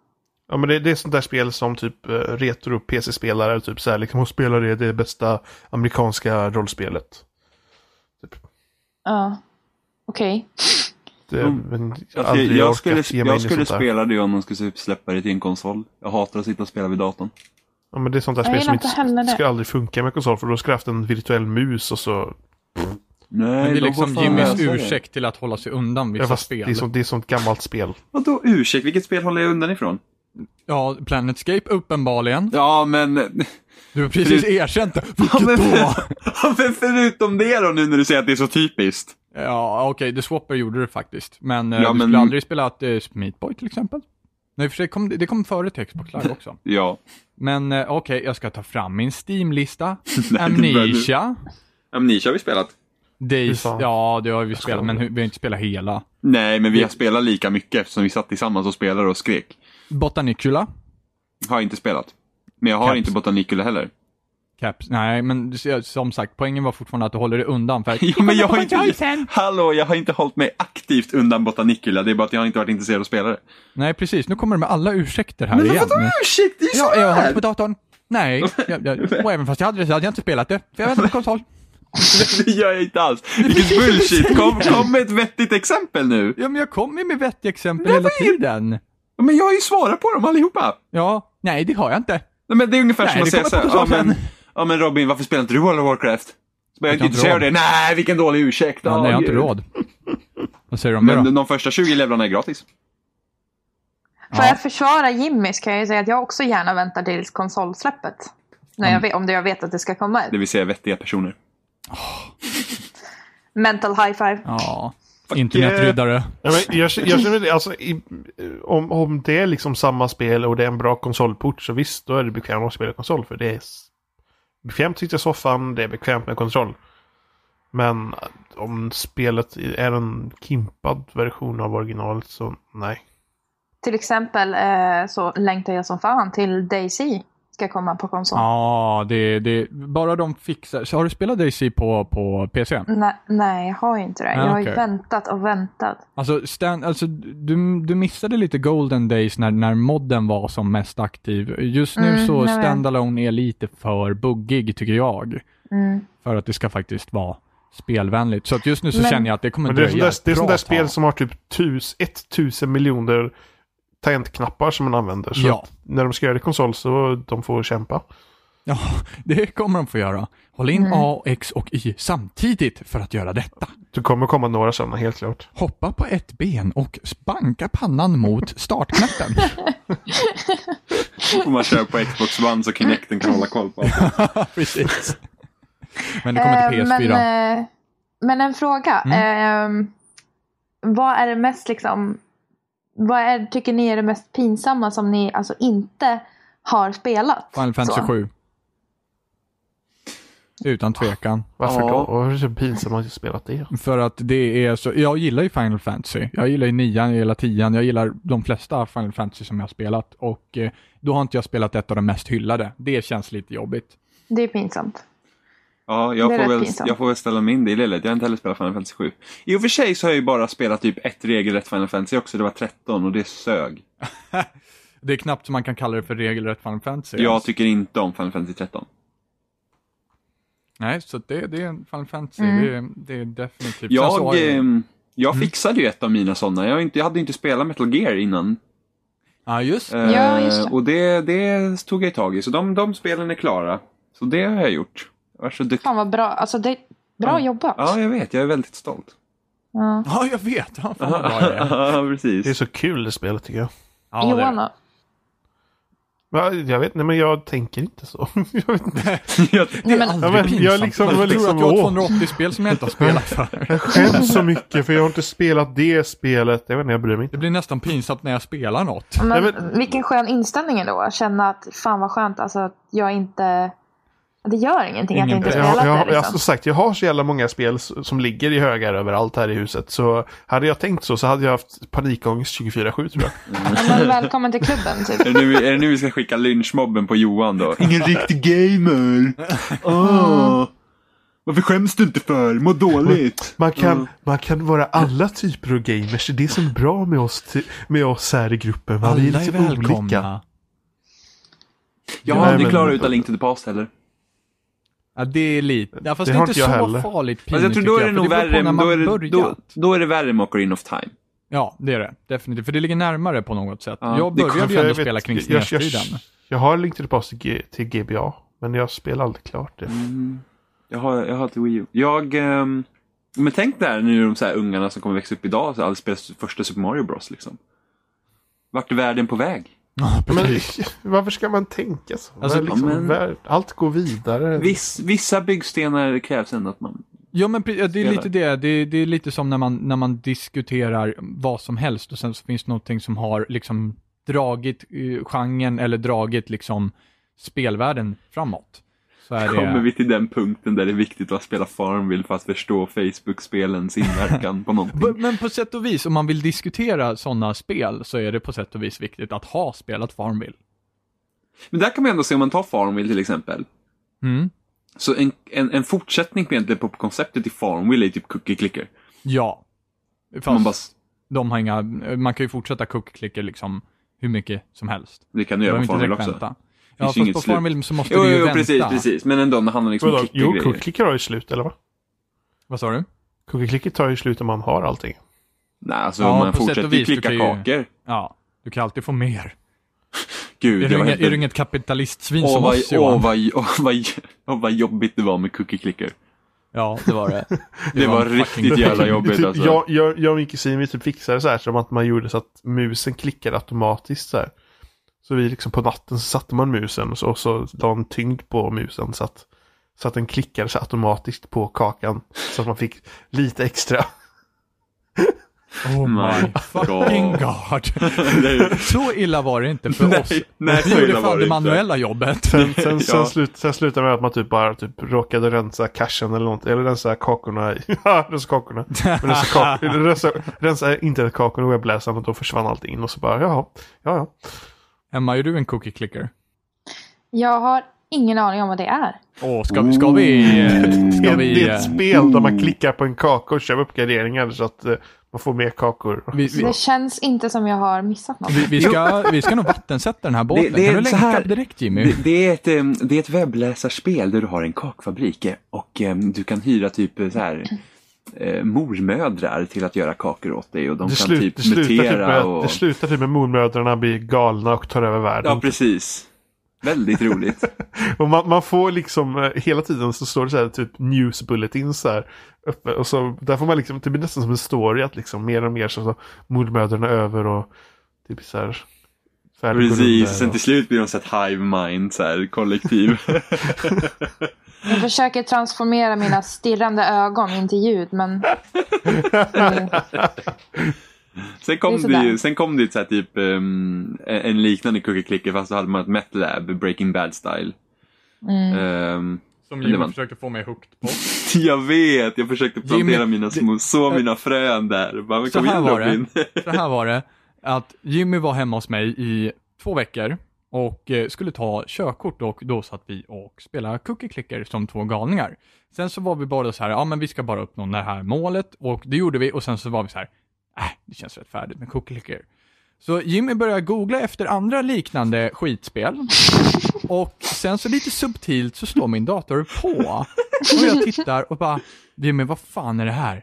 Ja, men det, det är sånt där spel som typ eh, retro-PC-spelare typ så här liksom och spelar det, det bästa amerikanska rollspelet. Ja. Okej. Det, Mm. men Jag, skulle- aldrig jag orkat skulle, ge mig in i jag skulle typ sånt där. spela det om de skulle släppa det till en konsol. Jag hatar att sitta och spela vid datorn. Ja, men det är sånt där Jag spel som gillar inte heller inte det. ska aldrig funka med konsol för då ska jag haft en virtuell mus och så... Nej, Men det är de liksom får fan Jimmys lösa det. ursäkt till att hålla sig undan vissa Ja, fast det, spel. är sånt, det är sånt gammalt spel. Vadå ursäkt? Vilket spel håller jag undan ifrån? Ja, Planetscape uppenbarligen. Ja, men... Du har precis erkänt det. Ja, men, Vilket då? ja, men förutom det då, nu när du säger att det är så typiskt. Ja, okej, The Swapper gjorde det faktiskt. Men eh, Ja, du men- skulle aldrig spela att eh, Meat Boy till exempel? Nej, för sig kom, det det kom före till Xbox Live också. Ja. Men eh, okej, jag ska ta fram min Steam-lista. Nej, det börjar nu. Amnesia. Amnesia har vi spelat. Days. fan. Ja, det har vi spelat, skojar. men hur- vi har inte spelat hela. Nej, men vi har spelat lika mycket eftersom vi satt tillsammans och spelade och skrek. Botanicula. Har inte spelat. Men jag har Caps. inte Botanicula heller. Caps. Nej, men du ser, som sagt, poängen var fortfarande att du håller dig undan. För Ja, men jag har inte... Joysen! Hallå, jag har inte hållit mig aktivt undan Botanicula. Det är bara att jag har inte varit intresserad av att spela det. Nej, precis. Nu kommer det med alla ursäkter här Men igen. vadå ursäkt? Det är ju Ja, så jag har här. det på datorn. Nej, jag, jag, och även fast jag hade det så hade jag inte spelat det. För jag väntar på konsol. Det gör jag inte alls. Vilket bullshit. Kom, kom med ett vettigt exempel nu. Ja, men jag kommer ju med vettiga exempel hela tiden. Men jag har ju svarat på dem allihopa. Ja, nej det har jag inte. Nej, men det är ungefär Nej, som att det säga så kommer här, på ja, datorn men, sen." ja men Robin, varför spelar inte du World of Warcraft? Så bara, Jag Jag kan kan inte säga inte det. Nej, vilken dålig ursäkt. Ja, Ja, nej, jag har inte gud. råd. Vad säger du om det Men då? de första 20 levlarna är gratis. För Ja. att försvara Jimmys kan jag ju säga att jag också gärna väntar tills konsolsläppet. När Mm. jag vet, om det jag vet att det ska komma Det ut. vill säga vettiga personer. Mental high five. Ja, Fuck internetryddare. Ja, men jag, jag känner det, alltså, i, om, om det är liksom samma spel och det är en bra konsolport så visst, då är det bekvämt att spela konsol för det är s- bekvämt att sitta i soffan, det är bekvämt med kontroll. Men eh, om spelet är en kimpad version av originalet så nej. Till exempel eh, så längtar jag som fan till Daisy ska komma på konsol. Ja, det, det, bara de fixar. Så har du spelat DayZ på, på PC? Nej, nej, jag har ju inte det. Ja, jag har ju okej. väntat och väntat. Alltså, Stan, alltså du, du missade lite Golden Days när, när modden var som mest aktiv. Just nu Mm, jag så vet. standalone är lite för buggig tycker jag. Mm. För att det ska faktiskt vara spelvänligt. Så att just nu så Men- känner jag att det kommer Men det är sånt dröja. där, det är ett sånt bra där spel tag. som har typ tus, 1000 miljoner tangentknappar som man använder. Så Ja. att när de ska göra det i konsol så de får kämpa. Ja, det kommer de få göra. Håll Mm. in A, X och Y samtidigt för att göra detta. Det kommer komma några sådana, helt klart. Hoppa på ett ben och banka pannan mot startknappen. Då får man köra på Xbox One så Kinecten kan hålla koll på allt. Precis. Men det kommer till Eh, PS4. Men, eh, men en fråga. Mm. Eh, vad är det mest liksom... Vad är, tycker ni är det mest pinsamma som ni alltså inte har spelat? Final Fantasy Så. 7. Utan tvekan. Varför Ja. då? Varför är det så pinsamt att jag spelat det? För att det är så, jag gillar ju Final Fantasy. Jag gillar ju nian, jag gillar tian, jag gillar de flesta Final Fantasy som jag har spelat. Och eh, då har inte jag spelat ett av de mest hyllade. Det känns lite jobbigt. Det är pinsamt. Ja, jag Det är får, rätt väl, pinsamt. jag får väl ställa mig in det i ledet. Jag har inte heller spelat Final Fantasy 7. I och för sig så har jag ju bara spelat typ ett regelrätt Final Fantasy också. Det var 13 och det sög. Det är knappt man kan kalla det för regelrätt Final Fantasy. Jag ens. tycker inte om Final Fantasy 13. Nej, så det, det är en Final Fantasy. Mm. Det, är- det är definitivt. Sen så har Jag, jag, Mm. ehm, jag fixade ju ett av mina sådana. Jag, har inte- jag hade ju inte spelat Metal Gear innan. ja, just det. Ja, just det. Eh, Och det, det tog jag tag i. Så de, de spelen är klara. Så det har jag gjort. Jag är så duktig. Fan vad bra. Alltså det, bra jobbat. Ja, jag vet. Jag är väldigt stolt. Ja. Ja, jag vet. Ja, fan vad bra jag är. Ja, Det är precis. så kul det spelet tycker jag. Ja, det är det. Johan då? Ja, Jag vet, nej men jag tänker inte så. Jag vet inte. Jag- Det är men- aldrig Ja, men pinsamt. jag liksom- jag tror liksom- att jag har åh. 280 spel som jag inte har spelat för. Jag skäms så mycket för jag har inte spelat det spelet. Jag vet inte, jag bryr mig inte. Det blir nästan pinsamt när jag spelar något. Men, Nej, men- Vilken skön inställning ändå. Att känna att fan vad skönt alltså, att jag inte... att Det gör ingenting att Ingen jag inte press. Jag, spelat jag, det. jag, alltså. Liksom. som sagt, jag har så jävla många spel s- som ligger i högar överallt här i huset. Så hade jag tänkt så så hade jag haft panikångest 24-7 tror jag. Ja, men, välkommen till klubben typ. Är det, nu, är det nu vi ska skicka lynchmobben på Johan då? Ingen riktig gamer! Oh. Varför skäms du inte för? Må dåligt! Man kan, man kan vara alla typer av gamers. Det är det som är bra med oss, ti- med oss här i gruppen. va? Vi är lite olika. Jag Nej, har aldrig men- klarat ut A Link to the Past heller. Ja, det är lite... Ja, fast Det det, har är inte inte jag så heller. farligt pinigt Alltså jag tror då är det för nog beror på värre, när då man är det, då, börjat. då är det värre med Ocarina of Time. Ja, det är det. Definitivt. För det ligger närmare på något sätt. Ja, jag det började För ju jag ändå vet- spela kring jag- jag- SNES-tiden. Jag har Link to the Past till, G- till GBA. Men jag spelar aldrig klart det. Jag har, jag har till Wii U. Jag, ehm, men tänk där nu de så här ungarna som kommer växa upp idag så aldrig spelar första Super Mario Bros. Liksom. Vart är världen på väg? Ja, Men precis. varför ska man tänka så? Alltså, Vad är liksom, men- vär- Allt går vidare. Viss, vissa byggstenar krävs ändå att man... Ja men pre- ja, det är lite det. Spelar. det. är- Det är lite som när man, när man diskuterar vad som helst och sen så finns det någonting som har liksom dragit uh, genren eller dragit liksom spelvärlden framåt. Så är Kommer det... vi till den punkten där det är viktigt att spela Farmville för att förstå Facebook-spelens inverkan på B- någonting. Men på sätt och vis, om man vill diskutera sådana spel så är det på sätt och vis viktigt att ha spelat Farmville. Men där kan man ändå se om man tar Farmville till exempel. Mm. Så en, en, en fortsättning på egentligen på konceptet i Farmville är typ Cookie Clicker. Ja. Fast Man bara, s- de har inga, man kan ju fortsätta cookie-clicker liksom hur mycket som helst. det kan du Du göra på behöver inte Farmville direkt också. vänta. Finns Ja, ju fast inget på slut. Farmville så måste Jo, du ju jo, vänta. precis, precis. Men ändå, när handlar liksom om Vadå? Jo, Clicker-grejer. Cookie har ju slut, eller va? Vad sa du? Cookie Clicker tar ju slut om man har allting. Nej, alltså Ja, man på sätt och fortsätter ju vis, du klicka kan ju- kakor. Ja, du kan alltid få mer. Gud, Är du, jag inget, var är du helt... inget kapitalistsvin Åh, som vad, oss Johan? åh, vad, åh, vad, åh, vad jobbigt det var med cookie clicker. Ja, det var det. Det, var, en fucking- riktigt jävla jobbigt Typ, alltså. jag, jag, jag och min kusin vi typ fixade så här som att man gjorde så att musen klickade automatiskt så här. Så vi liksom på natten så satte man musen och så, så la en tyngd på musen så att, så att den klickade så här automatiskt på kakan. Så att man fick lite extra. Oh my My fucking God. god. Nej, Så illa var det inte för Nej, oss. nej, så vi gjorde illa var fan det det inte. manuella jobbet. Sen, sen, sen, Ja. slut, sen slutade det med att man typ bara typ råkade rensa cashen eller något. Eller rensa kakorna. i- Ja, rensa kakorna. Men rensa, kak, rensa, rensa internetkakorna och webbläsaren och då försvann allting. Och så bara jaha, ja ja. Emma, är du en cookie clicker? Jag har ingen aning om vad det är. Åh, ska, vi- ska vi... eh, Det Ska är, vi... det är eh, ett spel där man klickar på en kaka och kör uppgraderingar så att eh, man får mer kakor. Vi, vi, Det känns inte som jag har missat något. vi, vi, ska, vi ska nog vattensätta den här båten. det är kan du så länka här- direkt Jimmy? det, det, är ett, em, det är ett webbläsarspel där du har en kakfabrik eh, och em, du kan hyra typ eh, så här eh, mormödrar till att göra kakor åt dig och de det, kan slut, typ det, slutar mutera typ med, och... det slutar typ med mormödrarna blir galna och tar över världen. Ja, precis. Väldigt roligt. Och man, man får liksom eh, hela tiden så står det så här typ news bulletins så här uppe. Och så där får man liksom, det blir nästan som en story att liksom mer och mer så, så mordmödrarna över och typ så här. världen går under Precis, sen och- till slut blir de så ett hive mind, så här kollektiv. Jag försöker transformera mina stirrande ögon in till ljud, men... sen, Det kom är det sådär. ju, sen kom det ju så här typ ehm, en- en liknande cookie clicker fast då hade man ett metlab, Breaking Bad style. Mm. Ehm, Som Jimmy det var- försökte få mig hooked på. jag vet, jag försökte plantera Jimmy, mina små, så mina frön där. Bara, men Så kom här igen var Robin. Så här var det, att Jimmy var hemma hos mig i två veckor och eh, skulle ta körkort och då satt vi och spelade cookie clicker som två galningar. Sen så var vi bara så här, ja men vi ska bara uppnå det här målet och det gjorde vi och sen så var vi så här, äh, det känns rätt färdigt med cookie clicker. Så Jimmy började googla efter andra liknande skitspel och sen så lite subtilt så slår min dator på och jag tittar och bara, Jimmy vad fan är det här?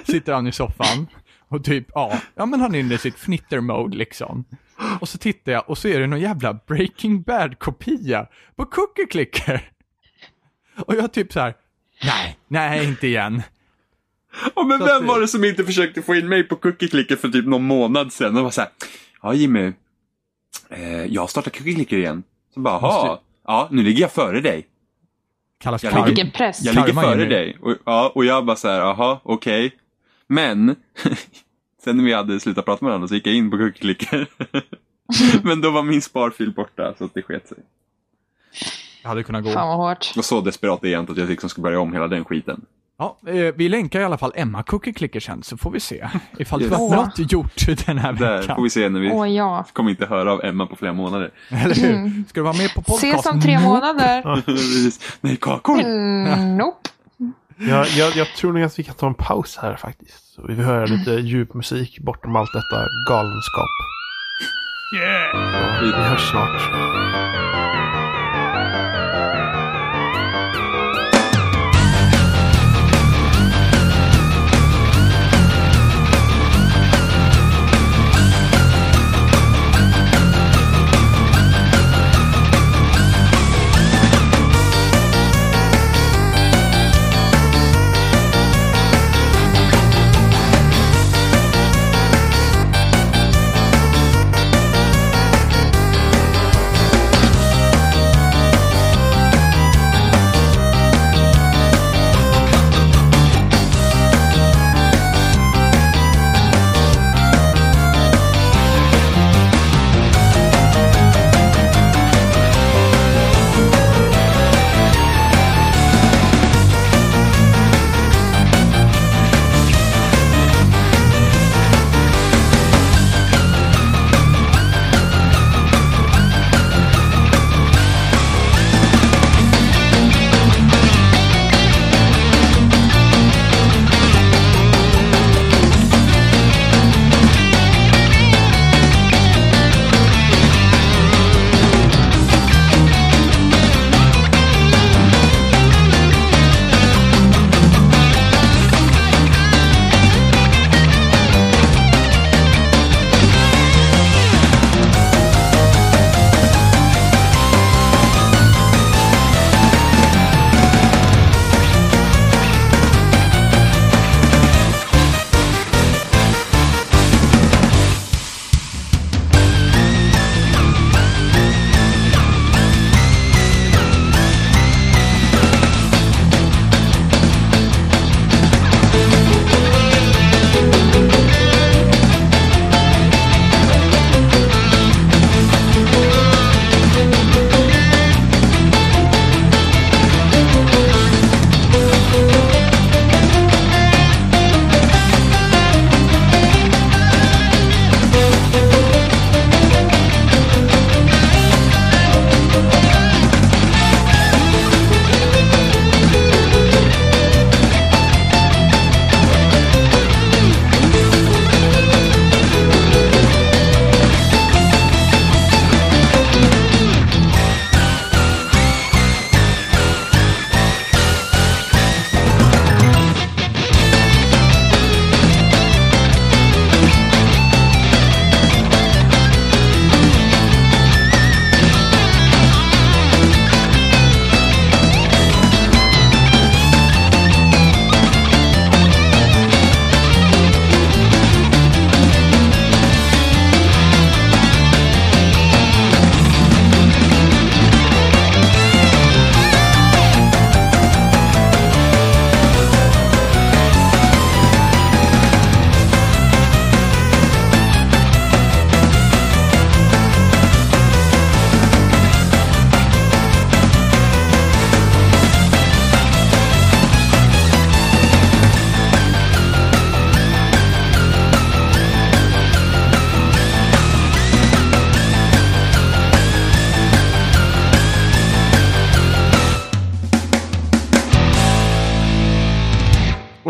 Sitter han i soffan och typ, ja, ja men han är inne i sitt fnitter-mode liksom. Och så tittar jag och så är det någon jävla Breaking Bad-kopia på Cookie Clicker. Och jag typ så här, nej, nej inte igen. Och men Så vem att- var det som inte försökte få in mig på cookie clicker för typ någon månad sedan? Och var så här, ja Jimmy, eh, jag startar cookie clicker igen. Så bara, jaha, Måste- ja nu ligger jag före dig. Kallas Jag karma. Vilken press. Jag Karma, ligger före Jimmy. dig. Och, ja, och jag bara så här, aha, okej. Men, sen när vi hade slutat prata med varandra så gick jag in på cookie-clicker. Men då var min sparfil borta så att det sket sig. Jag hade kunnat Fan gå. vad hårt. Och så desperat är jag inte att jag liksom ska börja om hela den skiten. Ja, eh, vi länkar i alla fall Emma Cookie Clicker sen så får vi se ifall det Just. var något gjort den här Där får veckan. vi se när vi Åh ja. kommer inte höra av Emma på flera månader. Eller hur? Ska du vara med på podcast? Mm. Ses om tre Nope. månader. Precis. Nej, kakor! Mm, nope. Jag, jag, jag tror nog att vi kan ta en paus här faktiskt. Så vi vill höra lite djup musik bortom allt detta galenskap. Yeah! Vi hörs snart.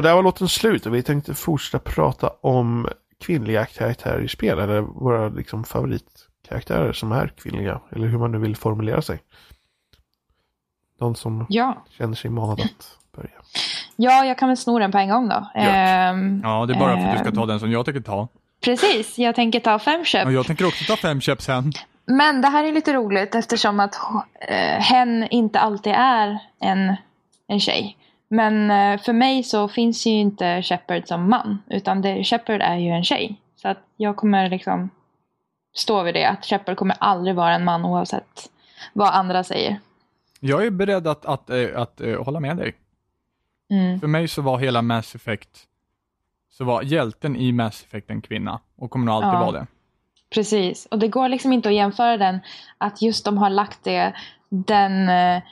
där var låten slut och vi tänkte fortsätta prata om kvinnliga karaktärer i spel. Eller våra liksom, favoritkaraktärer som är kvinnliga. Eller hur man nu vill formulera sig. De som Ja. känner sig manade att börja. ja, jag kan väl sno den på en gång då. Ehm, Ja, det är bara för att du ska ta den som jag tänker ta. Precis, jag tänker ta fem köp. Och jag tänker också ta fem köp sen. Men det här är lite roligt eftersom att eh, hen inte alltid är en, en tjej. Men eh, för mig så finns ju inte Shepard som man. Utan det, Shepard är ju en tjej. Så att jag kommer liksom stå vid det. Att Shepard kommer aldrig vara en man oavsett vad andra säger. Jag är beredd att, att, eh, att, eh, hålla med dig. Mm. För mig så var hela Mass Effect, så var hjälten i Mass Effect en kvinna och kommer nog alltid Ja. vara det. Precis, och det går liksom inte att jämföra den att just de har lagt det, den, eh,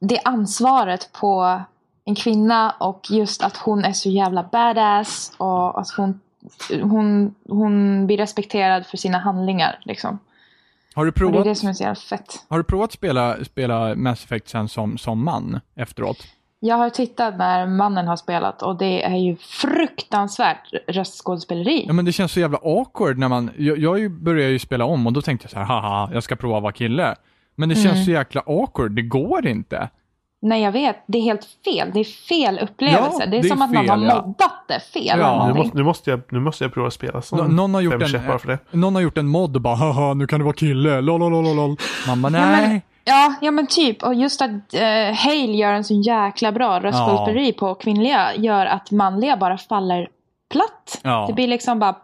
det ansvaret på en kvinna och just att hon är så jävla badass och att hon, hon, hon blir respekterad för sina handlingar. Liksom. Har du Och det är provat, det som är så jävla fett. har du provat spela, spela Mass Effect sen som, som man efteråt? Jag har tittat när mannen har spelat och det är ju fruktansvärt röstskådespeleri. Ja men det känns så jävla awkward när man, jag, jag ju- började ju spela om och då tänkte jag så här, haha, jag ska prova att vara kille. Men det Mm. känns så jäkla awkward, det går inte. Nej jag vet, det är helt fel. Det är fel upplevelse. Ja, det är det är som att någon har fel, ja. moddat det fel. eller Ja. Nu någonting. måste, nu, måste jag, nu måste jag prova att spela som Nå- någon, har gjort fem en, käppar för det. någon har gjort en mod och bara, haha, nu kan du vara kille, lololololol. Man bara, men- nej. Ja, ja men typ. Och just att eh, Hale gör en så jäkla bra röstskådespeleri på kvinnliga gör att manliga bara faller platt. Ja. Det blir liksom bara...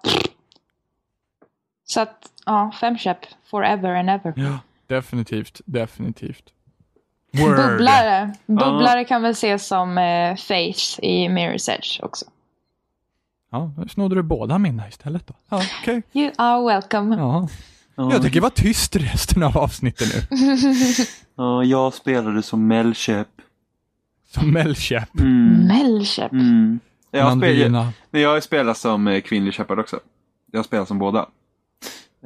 Så att, ja, fem köp. Forever and ever. Ja, definitivt, definitivt. Bubblare. Bubblare kan väl ses som eh, Faith i Mirror's Edge också. Ja, nu snodde du båda mina istället då. Ja, okej. You are welcome. Ja. Jag tänker vara tyst resten av avsnittet nu. Ja, jag spelade som Melchep. Som Melchep. Mm. Melchep. Mm. Jag, spel, eh, Mandina. Nej, jag spelar som eh, kvinnlig Shepard också. Jag spelar som båda.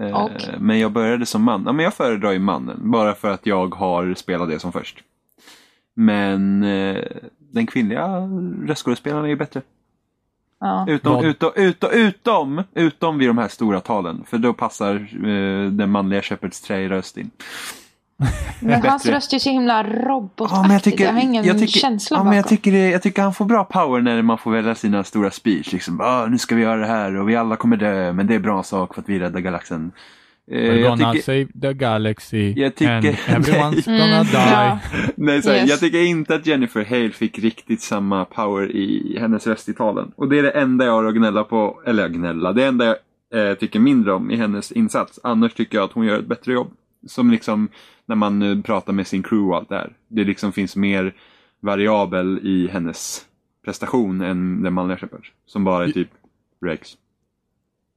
Eh, Och? Men jag började som man. Ja, men jag föredrar ju mannen, bara för att jag har spelat det som först. Men eh, den kvinnliga röstskådespelaren är ju bättre. Ja. Utom, Vad? utom, utom, utom, utom vid de här stora talen. För då passar eh, den manliga Shepards tröjröst in. Men hans Bättre. röst är så himla robotaktig. Ja, men jag, tycker, har ingen jag tycker, känsla ja, bakom. men jag, tycker det, jag tycker han får bra power när man får välja sina stora speech. Liksom, ah, nu ska vi göra det här och vi alla kommer dö, men det är bra sak för att vi räddar galaxen. Eh, We're jag gonna tycker, save the galaxy. Jag tycker- and everyone's gonna Mm, ja. die. nej, så här, Yes. jag tycker inte att Jennifer Hale fick riktigt samma power i hennes röst i talen. Och det är det enda jag har att gnälla på, eller jag gnälla, det enda jag eh, tycker mindre om i hennes insats. Annars tycker jag att hon gör ett bättre jobb. Som liksom när man eh, pratar med sin crew och allt det här. Det liksom finns mer variabel i hennes prestation än den manliga Shepard. Som bara är typ Rex.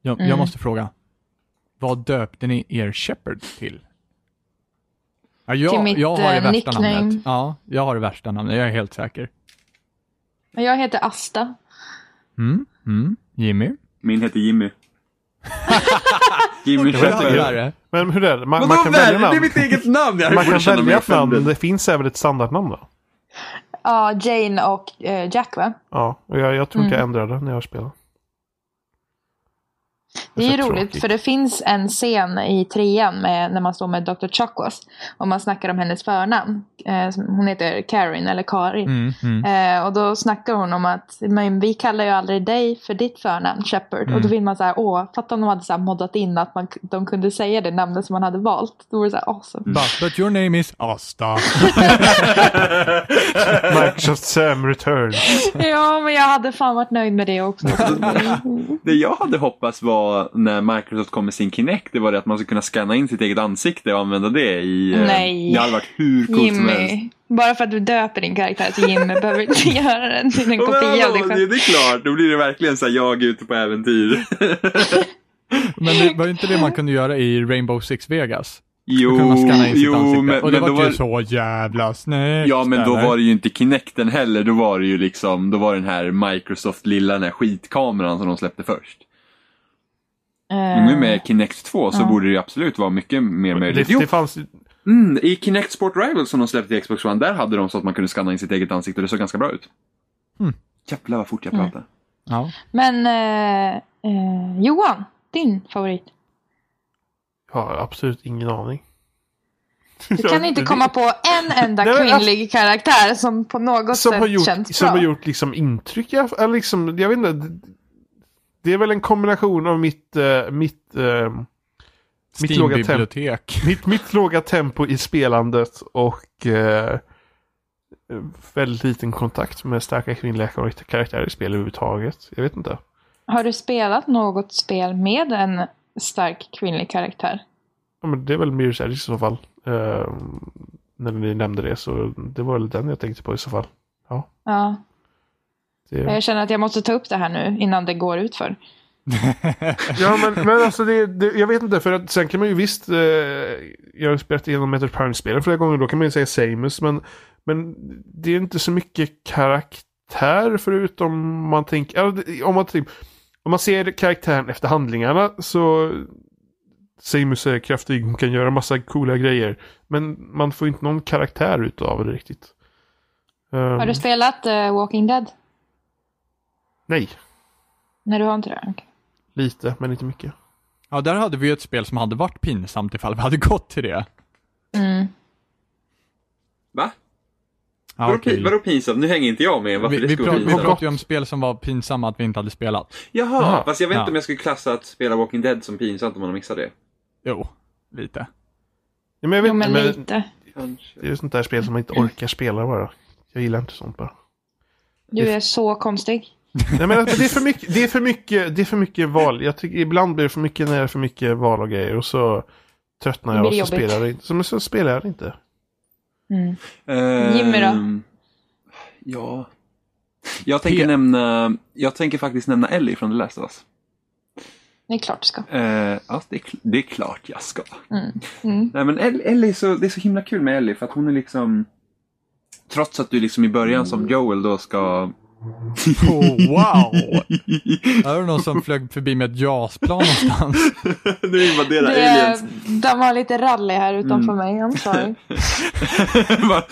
Jag, jag Mm. måste fråga. Vad döpte ni er Shepard till? Ja, jag, Till mitt, jag har det eh, värsta nickname. namnet. Ja, jag har det värsta namnet. Jag är helt säker. Men jag heter Asta. Mm, mm. Jimmy? Min heter Jimmy. Jimmy Det var Shepard. värre. Men hur är det? Man, man Vadå kan välja värre? Det är namn. mitt eget namn! Jag Man borde kan känna mig välja ett namn. Det offended. finns även ett standardnamn då? Ja, Jane och eh, Jack va? Ja, och jag, jag tror inte Mm. jag ändrade när jag spelade. Det är ju så roligt tråkigt. för det finns en scen i trean med, när man står med Dr. Chakwas och man snackar om hennes förnamn. Eh, som- hon heter Karin eller Karin. Mm, mm. Eh, och då snackar hon om att men vi kallar ju aldrig dig för ditt förnamn Shepard. Och då vill man så här, åh, fatta om de hade så här moddat in att man, de kunde säga det namnet som man hade valt. Då vore det så här awesome. But, but your name is Asta. Microsoft Sam Returns. ja, men jag hade fan varit nöjd med det också. Det jag hade hoppats var när Microsoft kom med sin Kinect, det var det att man skulle kunna scanna in sitt eget ansikte och använda det i... eh, Nej. Det hade varit hur coolt som helst. Jimmy. Bara för att du döper din karaktär till Jimmy behöver inte göra den till en kopia av dig det, själv. det är klart, då blir det verkligen så här, jag är ute på äventyr. Men det var inte det man kunde göra i Rainbow Six Vegas? Då kunde jo, man scanna in sitt jo ansikte. men, och men det då var ju var, så jävla snyggt. Ja, men då var det ju inte Kinecten heller, då var det ju liksom, då var den här Microsoft lilla den här skitkameran som de släppte först. Eh, Nu med Kinect 2 så borde det ju absolut vara mycket mer Det, möjligt. Jo, det fanns... Mm, I Kinect Hmm. Sport Rivals som de släppte i Xbox One, där hade de så att man kunde scanna in sitt eget ansikte och det såg ganska bra ut. Jävlar vad fort jag Mm. pratar. Ja. Men eh, eh, Johan, din favorit. Jag har absolut ingen aning. Du kan inte komma på en enda Nej, men alltså- kvinnlig karaktär som på något som sätt har gjort, känns Som bra. har gjort liksom intryck. Jag, eller liksom, jag vet inte. d- Det är väl en kombination av mitt, eh, mitt, eh, Mitt låga temp- Steam-bibliotek. mitt, mitt låga tempo i spelandet och eh, väldigt liten kontakt med starka kvinnliga kar- karaktärer i spel överhuvudtaget. Jag vet inte. Har du spelat något spel med en stark kvinnlig karaktär? Ja, men det är väl Mirror's Edge i så fall. Eh, när ni nämnde det så det var väl den jag tänkte på i så fall. Ja, Det... jag känner att jag måste ta upp det här nu innan det går ut för. Ja men, men alltså det, det, jag vet inte för att sen kan man ju visst, eh, jag har spelat igenom Metroid Prime-spelen flera gånger, då kan man ju säga Samus men, men det är inte så mycket karaktär förutom man tänker, eller det- om man, typ, om man ser karaktären efter handlingarna så Samus är kraftig, hon kan göra massa coola grejer. Men man får ju inte någon karaktär utav det riktigt. Ehm, Har du spelat eh, Walking Dead? nej, Nej, du har inte det? Okej. lite men inte mycket. Ja, där hade vi ju ett spel som hade varit pinsamt ifall vi hade gått till det. Mm. Va? Ja, Vadå, okej. pi- vadå pinsamt? Nu hänger inte jag med varför Vi, det vi, skulle pra- vara vi pinsamt. pratade ju om spel som var pinsamma att vi inte hade spelat. Jaha, Jaha. fast jag vet Ja. inte om jag skulle klassa att spela Walking Dead som pinsamt om man har missat det. Jo, lite. Ja, men jag vet Jo, men inte, men- lite. Kanske. Det är sånt där spel som man inte orkar spela bara. Jag gillar inte sånt bara. Du är så konstig. Nej, men alltså, det, är för mycket, det, är för mycket, det är för mycket val. Jag tycker ibland blir det för mycket när det är för mycket val och grejer. Och så tröttnar jag Det och blir så jobbigt. spelar jag inte. Så, men så spelar jag inte. Mm. Ehm, Jimmy då? Ja. Jag tänker P. nämna, jag tänker faktiskt nämna Ellie från The Last of Us. Det är klart du ska. Eh, ja, det är, kl- det är klart jag ska. Mm. Mm. Nej men El- Ellie, är så, det är så himla kul med Ellie för att hon är liksom Trots att du liksom i början som Joel då ska... Oh, wow! Här är det någon som flög förbi med ett JAS-plan någonstans. nu invaderar Det, de var lite rally här Mm. utanför mig. I'm sorry. Bara,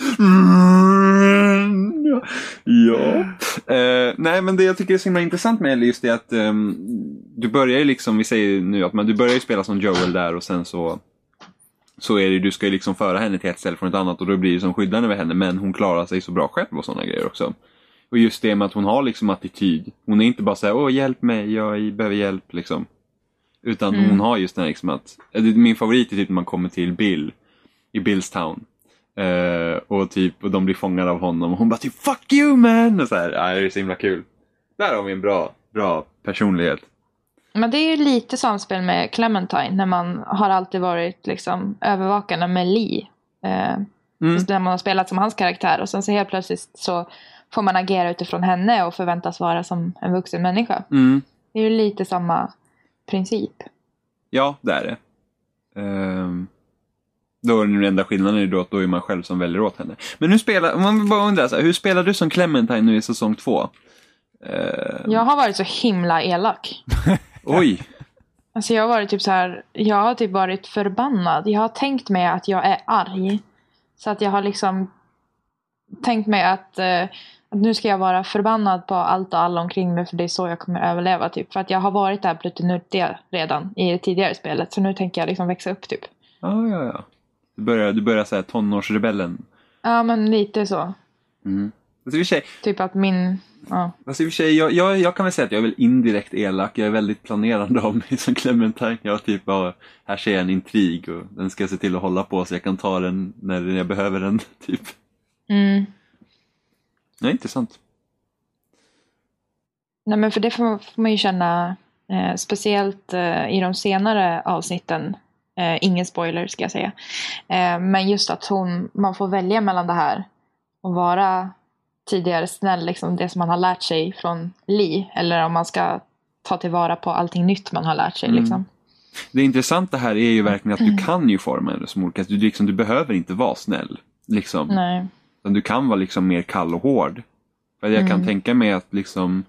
"Mm, ja." ja. Eh, nej, men det jag tycker är så himla intressant med Ellie just det att ehm, du börjar ju liksom, vi säger ju nu att man, du börjar ju spela som Joel där och sen så så är det ju, du ska ju liksom föra henne till ett ställe från ett annat och då blir det som skyddaren över henne men hon klarar sig så bra själv och sådana grejer också. Och just det med att hon har liksom attityd. Hon är inte bara såhär, åh hjälp mig, jag behöver hjälp liksom. Utan Mm. hon har just den här liksom att, eh, det- min favorit är typ när man kommer till Bill i Bills town. Eh, och typ, och de blir fångade av honom och hon bara typ Fuck you man! Och så här, ja, det är så himla kul. Där har vi en bra, bra personlighet. Men det är ju lite samspel med Clementine när man har alltid varit liksom övervakande med Lee. Eh, Mm. just När man har spelat som hans karaktär och sen så helt plötsligt så får man agera utifrån henne och förväntas vara som en vuxen människa. Mm. Det är ju lite samma princip. Ja, det är det. Ehm, då är den enda skillnaden är ju då att då är man själv som väljer åt henne. Men nu spelar, man bara undrar så här, hur spelar du som Clementine nu i säsong två? Ehm, Jag har varit så himla elak. Oj! Alltså jag har varit typ så här, jag har typ varit förbannad. Jag har tänkt mig att jag är arg. Så att jag har liksom tänkt mig att, eh, att nu ska jag vara förbannad på allt och alla omkring mig för det är så jag kommer överleva typ. För att jag har varit där pluttenuttiga redan i det tidigare spelet. Så nu tänker jag liksom växa upp typ. Ja, ja, ja. Du börjar, du börjar säga tonårsrebellen. Ja men lite så. Mm. Alltså, i och för sig, Typ att min, ja. Alltså i och för sig, jag, jag, jag kan väl säga att jag är väl indirekt elak. Jag är väldigt planerande av mig som Clementine. Jag typ bara, här ser jag en intrig och den ska jag se till att hålla på så jag kan ta den när jag behöver den. Typ. Mm. Nej, intressant. Nej men för det får, får man ju känna eh, speciellt eh, i de senare avsnitten. Eh, ingen spoiler ska jag säga. Eh, men just att hon, man får välja mellan det här och vara tidigare snäll, liksom det som man har lärt sig från Li. Eller om man ska ta tillvara på allting nytt man har lärt sig. Mm. Liksom. Det intressanta här är ju verkligen Mm. att du kan ju forma henne som olika. Du, liksom, du behöver inte vara snäll. Liksom. Nej. Utan du kan vara liksom mer kall och hård. För jag kan Mm. tänka mig att liksom,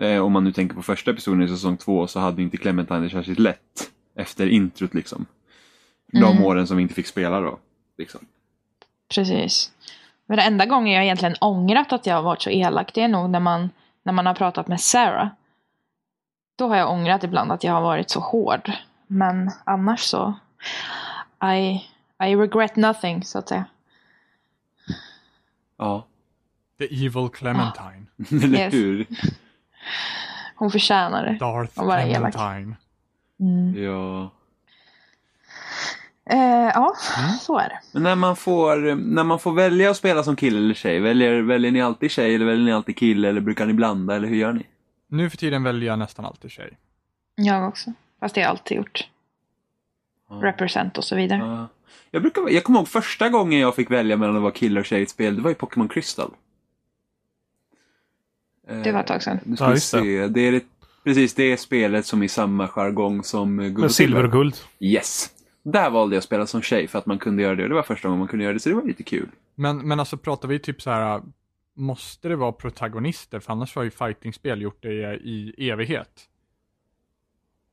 eh, om man nu tänker på första episoden i säsong två så hade inte Clementine det särskilt lätt efter introt. Liksom. De Mm. åren som vi inte fick spela då. Liksom. Precis. Men den enda gången jag egentligen ångrat att jag har varit så elak, det är nog när man, när man har pratat med Sarah. Då har jag ångrat ibland att jag har varit så hård. Men annars så, I, I regret nothing så att säga. Ja, The evil Clementine. eller Yes. hur? Hon förtjänar det. Darth Och vara elak. Clementine. Mm. Ja. Eh, ja, Mm. så är det. Men när man, får, eh, när man får välja att spela som kille eller tjej, väljer, väljer ni alltid tjej eller väljer ni alltid kille eller brukar ni blanda eller hur gör ni? Nu för tiden väljer jag nästan alltid tjej. Jag också. Fast det har jag alltid gjort. Ja. Represent och så vidare. Ja. Jag, brukar, jag kommer ihåg första gången jag fick välja mellan att vara kille och tjej i ett spel, det var i Pokémon Crystal. Det var ett tag sedan. Eh, Nu ska Ja, vi just det. se. Det är det, precis det spelet som är samma jargong som eh, Gubbe Med silver och guld. Yes. Där valde jag att spela som tjej för att man kunde göra det. Och det var första gången man kunde göra det, så det var lite kul. Men, men alltså pratar vi typ så här. måste det vara protagonister? För annars har ju fightingspel gjort det i evighet.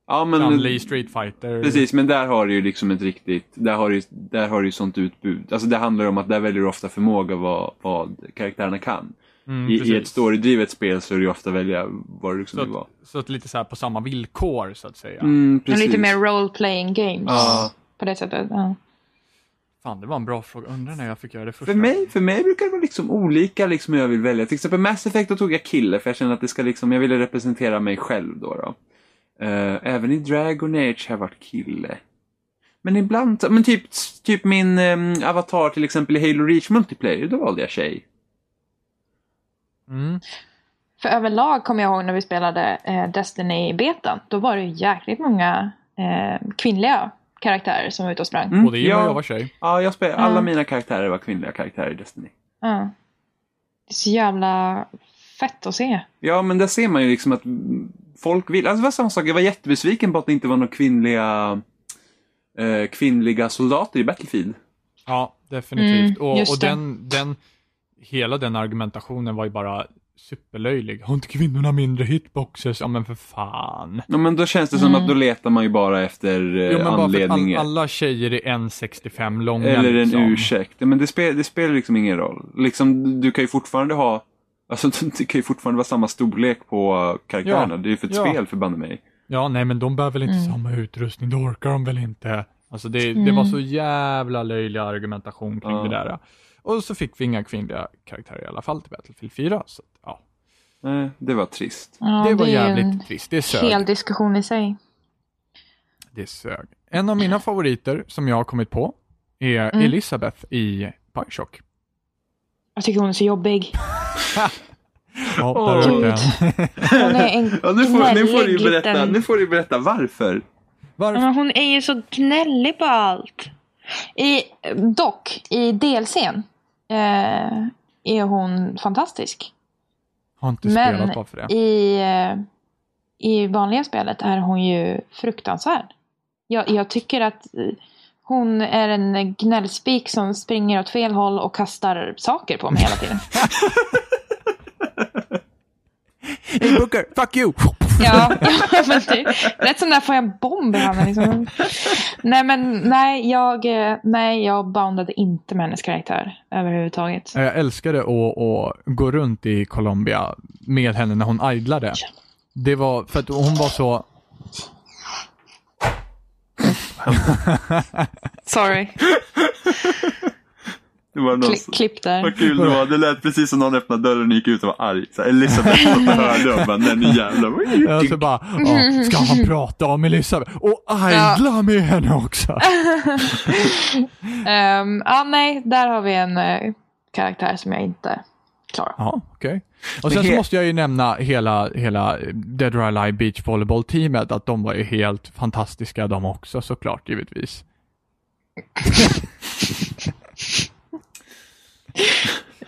Ja, men... Chun-Li, Street Fighter. Precis, men där har du ju liksom ett riktigt... Där har du, där har du ju sånt utbud. Alltså det handlar om att där väljer du ofta förmåga vad, vad karaktärerna kan. Mm, I, I precis. ett storydrivet spel så är det ju ofta välja vad du liksom vill Så vara. att, så att lite så här på samma villkor så att säga. Mm, Men precis. Lite mer role-playing games. Ja. På det sättet. Ja. Fan, det var en bra fråga. Undrar när jag fick göra det första För mig, för mig brukar det vara liksom olika liksom hur jag vill välja. Till exempel Mass Effect då tog jag kille för jag kände att det ska liksom, jag ville representera mig själv då. då. Eh, även i Dragon Age har jag varit kille. Men ibland, så- men typ, typ min ehm, avatar till exempel i Halo Reach Multiplayer, då valde jag tjej. Mm. För överlag kommer jag ihåg när vi spelade eh, Destiny i betan. Då var det ju jäkligt många eh, kvinnliga karaktärer som var ute och sprang. Mm, Och det är ju ja, när jag var tjej. Ja, jag spelade, alla Mm. mina karaktärer var kvinnliga karaktärer i Destiny. Ja. Det är så jävla fett att se. Ja, men där ser man ju liksom att mm, folk vill. Alltså det var samma sak, jag var jättebesviken på att det inte var några kvinnliga, eh, kvinnliga soldater i Battlefield. Ja, definitivt. Mm, och just och det. den, den, hela den argumentationen var ju bara superlöjlig. Har inte kvinnorna mindre hitboxes? Ja, men för fan. Ja, men då känns det som att då letar man ju bara efter eh, Mm. Jo, men bara för att all, anledningar. alla tjejer är 1,65 långa. eller en liksom. ursäkt. Ja, Men det, spel, det spelar liksom ingen roll. Liksom, du kan ju fortfarande ha... Alltså, det kan ju fortfarande vara samma storlek på eh, karaktärerna. Ja, Det är ju för ett ja. spel, förbanne mig. Ja, nej, men de behöver väl inte Mm. samma utrustning. Då orkar de väl inte. Alltså, det, det var så jävla löjlig argumentation kring Ja. det där. Och så fick vi inga kvinnliga karaktärer i alla fall till Battlefield 4. Så, att, ja. Eh, det var trist. Ja, det var är ju jävligt trist. Det en sög. hel diskussion i sig. Det sög. En av mina favoriter som jag har kommit på är Mm. Elisabeth i Bioshock. Jag tycker hon är så jobbig. Ja, där Åh. rök den. Hon är en Ja, nu, får, nu, får du gnällig ju berätta, liten- nu får du ju berätta varför. Ja, Varför? Men hon är ju så gnällig på allt. I, dock, i delscen eh, är hon fantastisk. Har inte Men- spelat bara för det. I, eh, I vanliga spelet är hon ju fruktansvärd. Jag, jag tycker att eh, hon är en gnällspik som springer åt fel håll och kastar saker på mig hela tiden. Hey Booker, fuck you! Ja, ja men typ. Rätt som där får jag en bomb i handen. Liksom. Nej, men nej jag, eh, nej, jag boundade inte med hennes karaktär överhuvudtaget. Jag älskade att, att gå runt i Colombia med henne när hon idlade. Det var för att hon var så... Sorry, Det var någon... Kli- klipp där. Vad kul det var. Det lät precis som någon öppnade dörren och gick ut och var arg. Så här, Elisabeth satt och hörde och bara, nej nu jävlar. Jag så bara, "Ja, ska han prata om Elisabeth? Och idla med henne också! Um, ja, nej, där har vi en eh, karaktär som jag inte klarar. Ja, okej. Och sen så he- måste jag ju nämna hela, hela Dead or Alive Beach Volleyball-teamet, att de var ju helt fantastiska de också såklart, givetvis.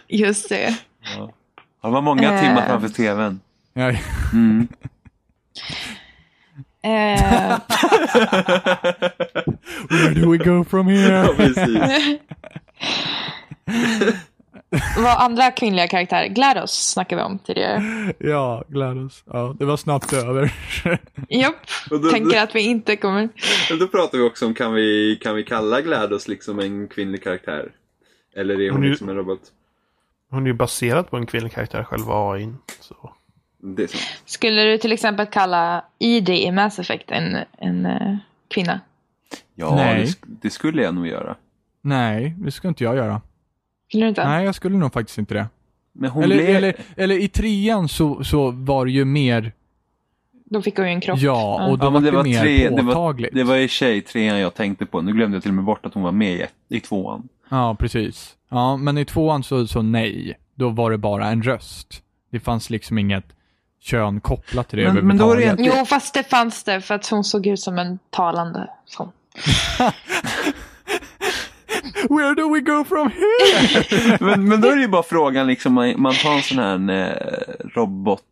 Just det. Ja, Det var många timmar Eh. framför tvn. Jag, Mm. Eh, where do we go from here? Ja, precis. vad andra kvinnliga karaktärer? GLaDOS snackade vi om tidigare. Ja, Gladys. Ja, det var snabbt över. Japp, Och då- tänker att vi inte kommer... Men då pratar vi också om, kan vi, kan vi kalla GLaDOS liksom en kvinnlig karaktär? Eller är hon Hon är ju- liksom en robot? Hon är ju baserad på en kvinnlig karaktär, själva AIn. Så. Det är sant. Skulle du till exempel kalla ID i Mass Effect en, en eh, kvinna? Ja, Nej. det, sk- det skulle jag nog göra. Nej, det skulle inte jag göra. Skulle du inte? Nej, jag skulle nog faktiskt inte det. Men hon Eller, blev... eller, eller i trean så, så var det ju mer, Då fick hon ju en kropp. ja, och då Ja, var men det, det var mer tre- det var- påtagligt. Det var i och för sig trean jag tänkte på. Nu glömde jag till och med bort att hon var med i, ett- i tvåan. Ja, precis. Ja, men i tvåan så, så nej. Då var det bara en röst. Det fanns liksom inget kön kopplat till det Men- men då är det överhuvudtaget. Jo, fast det fanns det för att hon såg ut som en talande sån. Where do we go from here? men, men då är det ju bara frågan liksom, man, man tar en sån här en, eh, robot.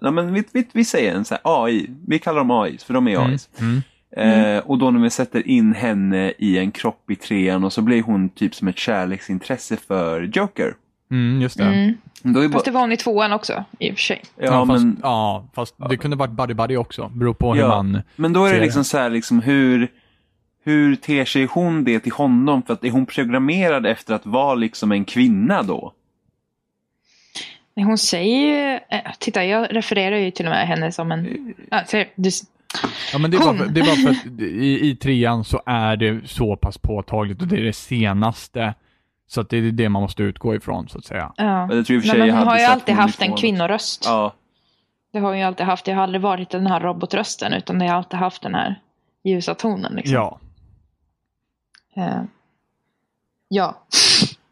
Nej, men vi, vi, vi säger en sån här AI. Vi kallar dem AI, för de är AI. Mm. Eh, och då när vi sätter in henne i en kropp i trean och så blir hon typ som ett kärleksintresse för Joker. Mm, just det. Mm. Då är bara, Fast det var hon i tvåan också, i och för sig. ja, Ja, fast, men, ja, fast det kunde varit buddy buddy också. Beror på hur Ja. man... men då är ser det det. liksom så här, liksom, hur, hur ter sig hon det till honom? För att är hon programmerad efter att vara liksom en kvinna då? Nej, Hon säger ju... eh, Titta, jag refererar ju till och med henne som en... Eh, Ja, ser- du- Ja, men det är, bara Hon. för, det är bara för att i, i trean så är det så pass påtagligt och det är det senaste. Så att det är det man måste utgå ifrån, så att säga. Ja. Jag tror i och för Nej, sig men jag hon hade har ju sett alltid hon i haft en tvåan. kvinnoröst. Ja, Det har hon ju alltid haft. Jag har aldrig varit den här robotrösten utan jag har alltid haft den här ljusa tonen. Liksom. Ja. Eh, ja.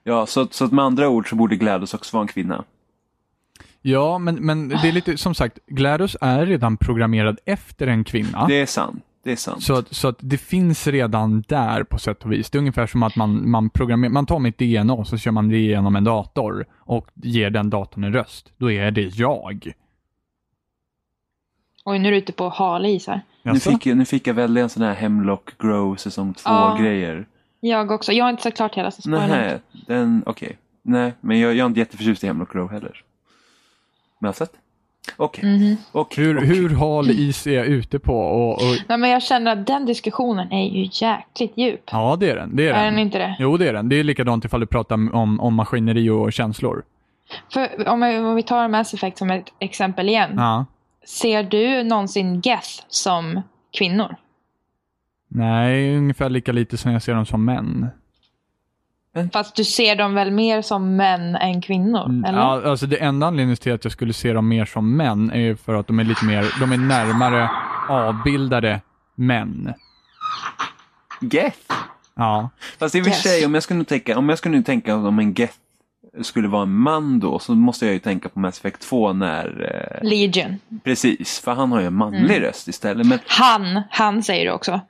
ja så, så att med andra ord så borde Gladys också vara en kvinna. Ja, men, men det är lite, som sagt, GLaDOS är redan programmerad efter en kvinna. Det är sant. Det är sant. Så, att, så att det finns redan där på sätt och vis. Det är ungefär som att man, man, programmerar, man tar mitt DNA och så kör man det genom en dator och ger den datorn en röst. Då är det jag. Oj, nu är du ute på hal is här. nu, fick, jag- nu fick jag välja en sån här Hemlock Grove säsong Ja. 2-grejer. Jag också. Jag har inte sagt klart hela så spoiler inte. Nej, den, okej. Nej, men jag, jag är inte jätteförtjust i Hemlock Grove heller. Men jag har sett. Okej. Mhm. Okej, hur, okej. hur hal is är jag ute på? Och, och, Nej, men jag känner att den diskussionen är ju jäkligt djup. ja, det är den. Det är Är den. den inte det? Jo, det är den. Det är likadant ifall du pratar om, om maskineri och känslor. För om, vi- om vi tar Mass Effect som ett exempel igen. Ja. Ser du någonsin Geth som kvinnor? Nej, ungefär lika lite som jag ser dem som män. Fast du ser dem väl mer som män än kvinnor? eller? Ja, alltså det enda anledningen till att jag skulle se dem mer som män är ju för att de är lite mer, de är närmare avbildade män. Geth? Ja. Fast i och för Yes. sig, om jag skulle nu tänka, om jag skulle nu tänka om en Geth skulle vara en man då, så måste jag ju tänka på Mass Effect 2 när... Eh, Legion. precis, för han har ju en Mm. manlig röst istället. Men, Han, han säger du också.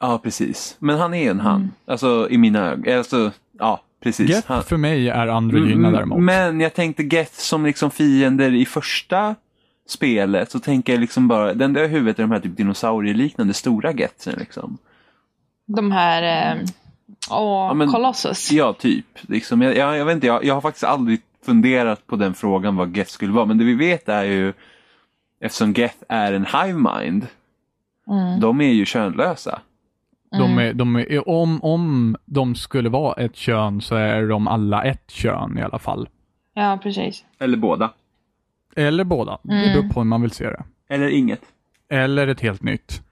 ja, precis. Men han är ju en han. Alltså, i mina ögon. Alltså, ja, precis. Geth han, för mig är androgyna Mm, däremot. Men jag tänkte Geth som liksom fiender i första spelet. Så tänker jag liksom bara, den där huvudet är de här typ dinosaurieliknande stora Getsen liksom. De här... Eh, åh, Ja, men- Colossus. Ja, typ. Liksom, jag, jag, jag vet inte, jag, jag har faktiskt aldrig funderat på den frågan vad Geth skulle vara. Men det vi vet är ju, eftersom Geth är en hive mind, Mm. de är ju könlösa. De är, de är, om, om de skulle vara ett kön så är de alla ett kön i alla fall. Ja, precis. Eller båda. Eller båda. Det Mm. beror på hur man vill se det. Eller inget. Eller ett helt nytt.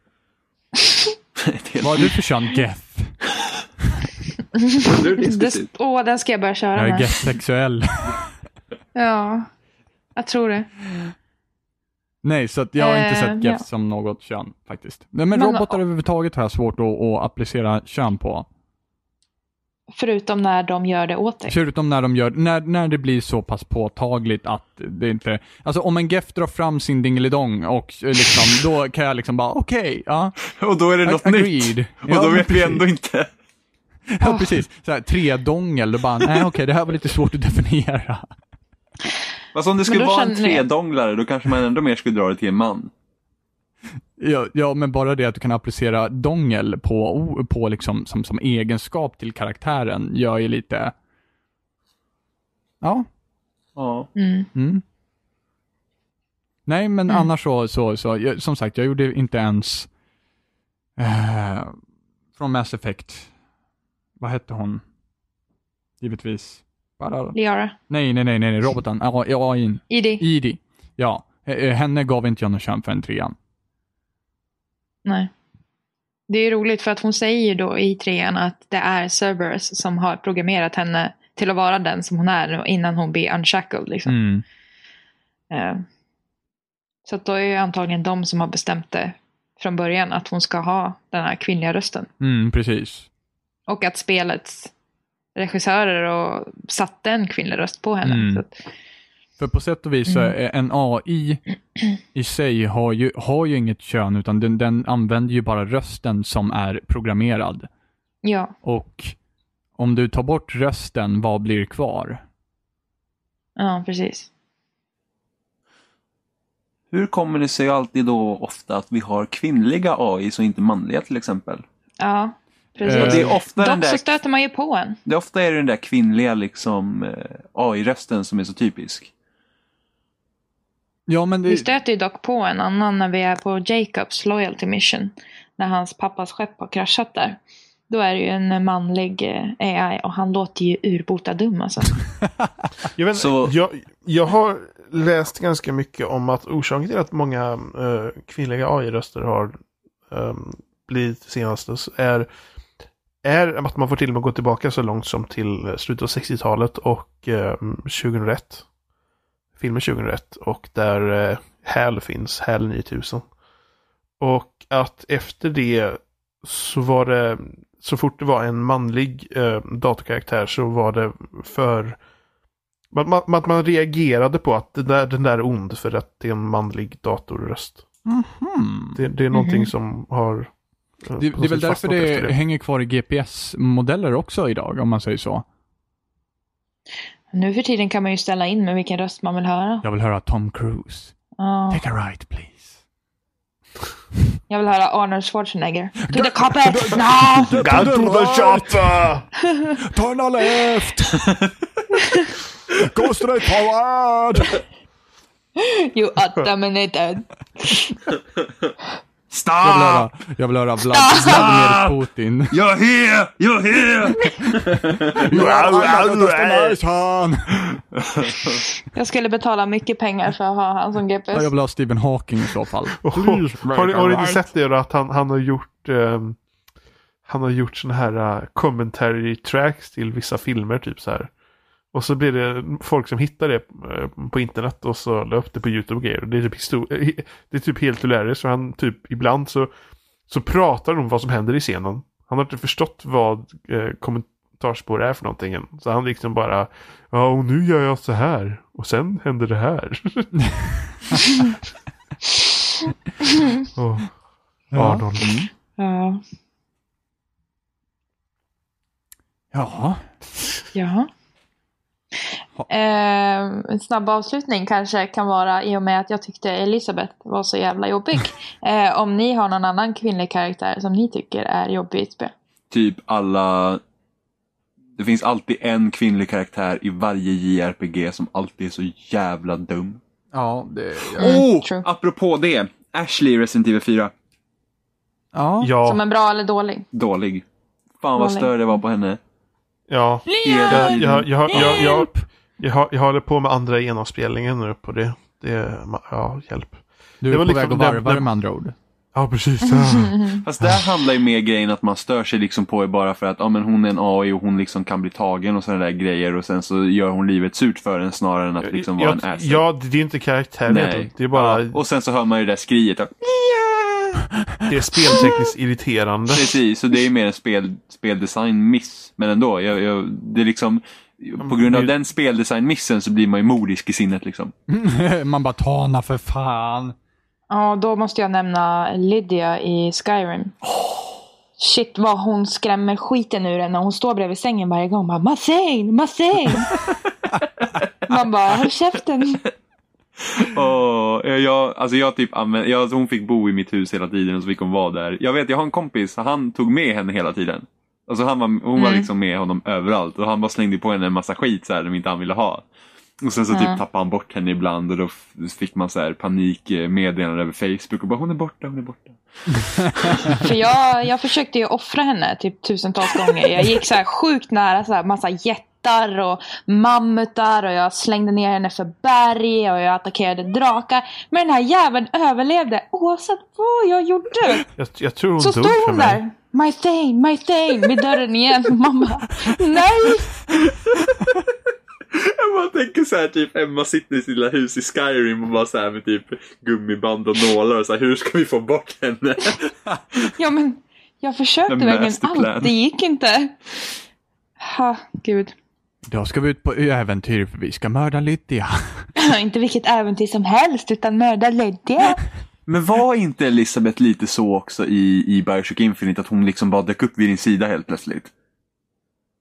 Ett helt- Vad är du för kön? Geth. Det är Det, diskussion. åh, den ska jag börja köra Jag är med. geth-sexuell. Ja, jag tror det. Nej, så att jag har inte Eh, sett geth ja. som något kön faktiskt. Nej, men Men- robotar överhuvudtaget har jag svårt att, att applicera kön på. Förutom när de gör det åt dig. Förutom när de gör, när, när det blir så pass påtagligt att det inte, alltså om en Geff drar fram sin dingelidong och eh, liksom, då kan jag liksom bara okej, ja, Och då är det ag- något agreed. nytt. Och Ja, då men vet vi precis. ändå inte. Ja, precis. Så här, tredongel, då bara, nej okej, det här var lite svårt att definiera. Fast om det skulle då vara en känner jag- tredonglare då kanske man ändå mer skulle dra det till en man. Ja, ja, men bara det att du kan applicera dongel på, o- på liksom, som, som egenskap till karaktären gör ju lite, ja, Ja. Mm. Nej, men annars så, så, så jag, som sagt, jag gjorde inte ens eh, från Mass Effect. Vad hette hon? Givetvis. Bara... Liara. Nej, nej, nej, nej, nej, roboten. Ja, ja, in. ID. Idi. Ja. Eh, eh, Henne gav inte jag någon kön förrän trean. Nej. Det är roligt för att hon säger då i trean att det är Cerberus som har programmerat henne till att vara den som hon är innan hon blir unshackled. Liksom. Mm. Eh, Så att då är ju antagligen de som har bestämt det från början att hon ska ha den här kvinnliga rösten. Mm, precis. Och att spelets regissörer och satte en kvinnlig röst på henne. Mm. Så att, För på sätt och vis så är en AI i sig har ju, har ju inget kön, utan den, den använder ju bara rösten som är programmerad. ja, Och om du tar bort rösten, vad blir kvar? ja, precis. Hur kommer det sig alltid då ofta att vi har kvinnliga AIs och inte manliga till exempel? Ja, Eh, Och precis. det är ofta den Dock så där, stöter man ju på en. det är ofta är det den där kvinnliga liksom eh, AI-rösten som är så typisk. Ja, men Vi det, stöter ju dock på en annan när vi är på Jacobs Loyalty Mission. När hans pappas skepp har kraschat där. Då är det ju en manlig eh, AI och han låter ju urbota dum alltså. Jag, vet, Så- jag, jag har läst ganska mycket om att orsaken till att många eh, kvinnliga AI-röster har um, blivit senast är, är att man får till och med gå tillbaka så långt som till slutet av 60-talet och ehm, 2001. Filmen 2001 och där eh, HAL finns, HAL 9000. Och att efter det så var det, så fort det var en manlig eh, datorkaraktär så var det för man, man, man, man reagerade på att den där, den där är ond för att det är en manlig datorröst. Hmm. Det, det är någonting Mhm. som har... eh, det, på det är något väl sätt därför fastnat efter det, hänger kvar i GPS-modeller också idag, om man säger så. Nu för tiden kan man ju ställa in med vilken röst man vill höra. Jag vill höra Tom Cruise. Ja. Take a right, please. jag vill höra Arnold Schwarzenegger. To the carpet! No! Go to the shopper! Turn left! Go straight forward! You are dominated! Jag vill Stop! höra, jag vill höra Vlad, Vladimir Putin. You're here! You're here! Jag skulle betala mycket pengar för att ha han som Ja, jag GPS. vill ha Stephen Hawking i så fall. Och- Har, ni- har ni inte sett det då att han, han har gjort... ehm, han har gjort sådana här eh, commentary tracks till vissa filmer typ så här. Och så blir det folk som hittar det eh, på internet och så la upp det på YouTube och grejer. Och Det är typ, histo- eh, he- det är typ helt hilariskt. Så han typ ibland så, så pratar de om vad som händer i scenen. Han har inte förstått vad eh, kommentarsspår är för någonting än. Så han liksom bara Ja och nu gör jag så här. Och sen händer det här. oh, Ja. Arnold. Ja. Jaha. Jaha. Ha- Eh, en snabb avslutning kanske kan vara i och med att jag tyckte Elisabeth var så jävla jobbig. Eh, om ni har någon annan kvinnlig karaktär som ni tycker är jobbig i ett spel. Typ alla... Det finns alltid en kvinnlig karaktär i varje JRPG som alltid är så jävla dum. Ja, det... Mm, oh! true. Apropå det. Ashley i Resident Evil 4. Ja. Som Ja, en bra eller dålig. Dålig. Fan vad Dålig. störd det var på henne. ja. eh, Hela Jag, jag, tiden. jag, jag, jag, jag, har- jag håller på med andra genomspelningen nu på det. det ja, hjälp. Du är Det på var väg liksom att den- varva det den- med andra ord. Ja, precis. Ja. Fast där handlar ju mer grejen att man stör sig liksom på är bara för att ja, men hon är en AI och hon liksom kan bli tagen och sådana där grejer och sen så gör hon livet surt för en snarare än att liksom vara jag, en ass. ja, det är inte karaktären egentligen. Det är bara, Ja, och sen så hör man ju det där skriet. Och... det är speltekniskt irriterande. Precis, så det är mer en spel, speldesign-miss. Men ändå, jag, jag, det är liksom... På grund av det- den speldesign-missen så blir man ju modisk i sinnet liksom. Man bara, Tana för fan. Ja, då måste jag nämna Lydia i Skyrim. Oh. Shit vad hon skrämmer skiten ur en när hon står bredvid sängen varje gång. Bara, Massain, Massain! Man bara, håll käften. Åh, eh, jag, alltså jag typ använder, jag, hon fick bo i mitt hus hela tiden och så fick hon vara där. Jag vet, jag har en kompis, han tog med henne hela tiden. Alltså han var, hon var Mm. liksom med honom överallt och han bara slängde på henne en massa skit så här, som inte han ville ha. Och sen så typ Ja. tappade han bort henne ibland och då f- fick man så här panikmeddelanden över Facebook och bara hon är borta, hon är borta. För jag, jag försökte ju offra henne typ tusentals gånger. Jag gick så här sjukt nära så här massa jättar jättar och mammutar och jag slängde ner henne för berg och jag attackerade drakar. Men den här jäveln överlevde oavsett vad jag gjorde. Jag, jag tror hon Så dog stod för hon mig. där. My thing, my thing, vid dörren igen. Och Mamma, nej! Jag bara tänker så här, typ Emma sitter i sitt lilla hus i Skyrim och bara så här med typ gummiband och nålar och så här, hur ska vi få bort henne? Ja men, jag försökte En verkligen masterplan. allt. Det gick inte. Ha, gud. Idag ska vi ut på äventyr för vi ska mörda Lydia. inte vilket äventyr som helst, utan mörda Lydia. Men var inte Elisabeth lite så också i, i Bioshock Infinite att hon liksom bara dök upp vid din sida helt plötsligt?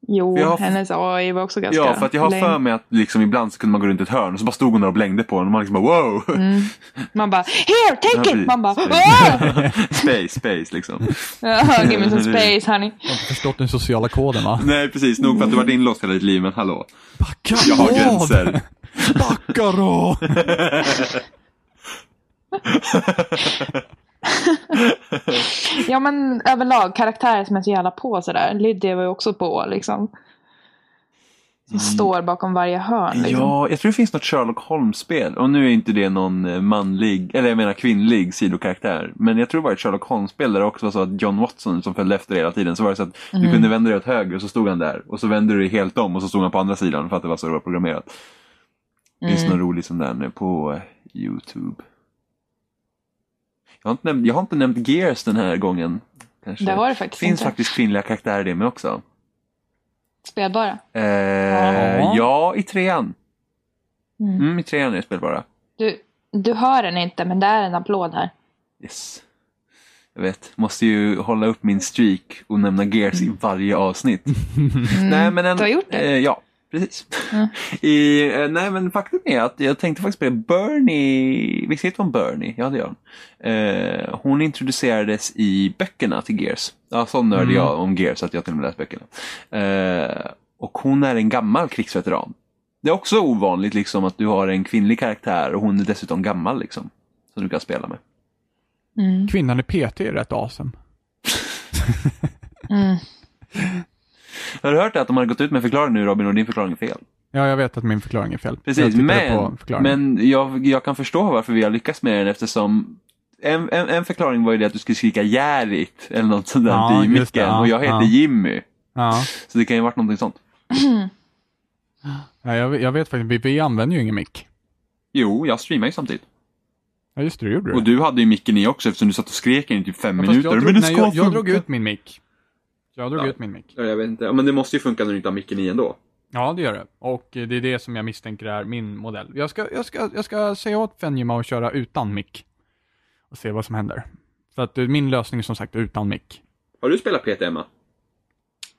Jo, Jag har- hennes AI var också ganska ja, för att jag har lame. för mig att liksom ibland så kunde man gå runt ett hörn och så bara stod hon där och blängde på en och man liksom bara wow! Mm. Man bara “Here, Ja, take precis. it!” Man bara "Åh!" space. space, space liksom. Ja, Give me some space honey. Jag har inte förstått den sociala koden va? Nej precis, nog för att du varit inlåst hela ditt liv men hallå. Backa Jag har av! gränser. Backa då! Ja men överlag karaktärer som är så jävla på sådär. Lydia var ju också på liksom. Som står bakom varje hörn. Liksom. Mm. Ja, jag tror det finns något Sherlock Holmes-spel. Och nu är inte det någon eh, manlig, eller jag menar kvinnlig sidokaraktär. Men jag tror det var ett Sherlock Holmes-spel där det också var så att John Watson som följde efter hela tiden. Så var det så att Mm. du kunde vända dig åt höger och så stod han där. Och så vände du dig helt om och så stod han på andra sidan för att det var så det var programmerat. Det finns mm. någon rolig sån där nu på eh, YouTube. Jag har, inte nämnt, jag har inte nämnt Gears den här gången. Kanske. Det har det faktiskt finns inte. faktiskt kvinnliga karaktärer i det med också. Spelbara. Eh, Ja. ja, i trean. Mm. Mm, i trean är det spelbara. Du, du hör den inte men det är en applåd här. Yes. Jag vet, måste ju hålla upp min streak och nämna Gears i varje avsnitt. nej, men en, Mm, Du har gjort det? Eh, ja, precis. Mm. I, eh, nej, men faktum är att jag tänkte faktiskt på det. Bernie, visst heter hon Bernie? Ja, det gör hon. Eh, hon introducerades i böckerna till Gears. Ja, så nördig Mm. jag om Gears att jag till och med läst böckerna. Eh, och hon är en gammal krigsveteran. Det är också ovanligt liksom att du har en kvinnlig karaktär och hon är dessutom gammal liksom. Som du kan spela med. Mm. Kvinnan i PT är rätt awesome. Mm. Har du hört det att de har gått ut med en förklaring nu Robin och din förklaring är fel? Ja, jag vet att min förklaring är fel. jag Precis, tittade men, förklaringen. men jag, jag kan förstå varför vi har lyckats med den eftersom en, en, en förklaring var ju det att du skulle skrika Järit eller något sånt där Ja, i just det, micken ja, och jag heter ja. Jimmy. Ja. Så det kan ju ha varit någonting sånt. Ja, jag, jag vet faktiskt, vi, vi använder ju ingen mick. Jo, jag streamar ju samtidigt. Ja, just det, det gjorde Och du hade ju micken i också eftersom du satt och skrek i typ fem Ja, fast minuter. Jag drog, men det nej, ska jag, jag drog funka. ut min mick. Jag drog Ja. ut min mick. Ja, jag vet inte, men det måste ju funka när du inte har micken i ändå. Ja, det gör det. Och eh, det är det som jag misstänker är min modell. Jag ska, jag ska, jag ska säga åt Fenjima att köra utan mick. Och se vad som händer. För att eh, min lösning är som sagt utan mick. Har du spelat PT, Emma?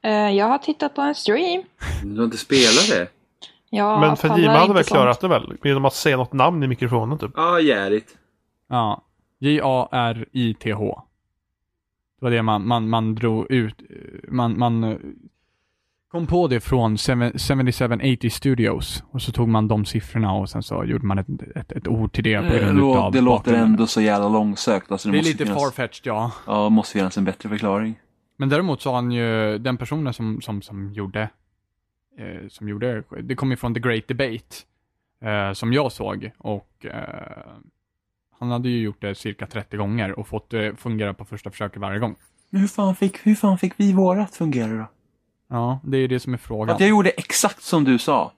Eh, jag har tittat på en stream. Du har inte spelat det? Jag Men pallar Fadima hade inte väl sånt. klarat det väl? Genom att säga något namn i mikrofonen typ. Ja, ah, Järit. Ja. J-A-R-I-T-H. Det var det man, man, man drog ut, eh, man, man eh, kom på det från 7780 Studios och så tog man de siffrorna och sen så gjorde man ett, ett, ett ord till det på Det, grund Eh, lå- utav det låter bakgrunden. ändå så jävla långsökt. Alltså, det, Det är måste lite finnas... farfetched ja. Ja, måste finnas en bättre förklaring. Men däremot så har han ju, den personen som, som, som gjorde, eh, som gjorde, det kom ju från The Great Debate, eh, som jag såg och eh, han hade ju gjort det cirka 30 gånger och fått det fungera på första försöket varje gång. Men hur fan fick, hur fan fick vi vårat fungera då? Ja, det är ju det som är frågan. Att jag gjorde exakt som du sa.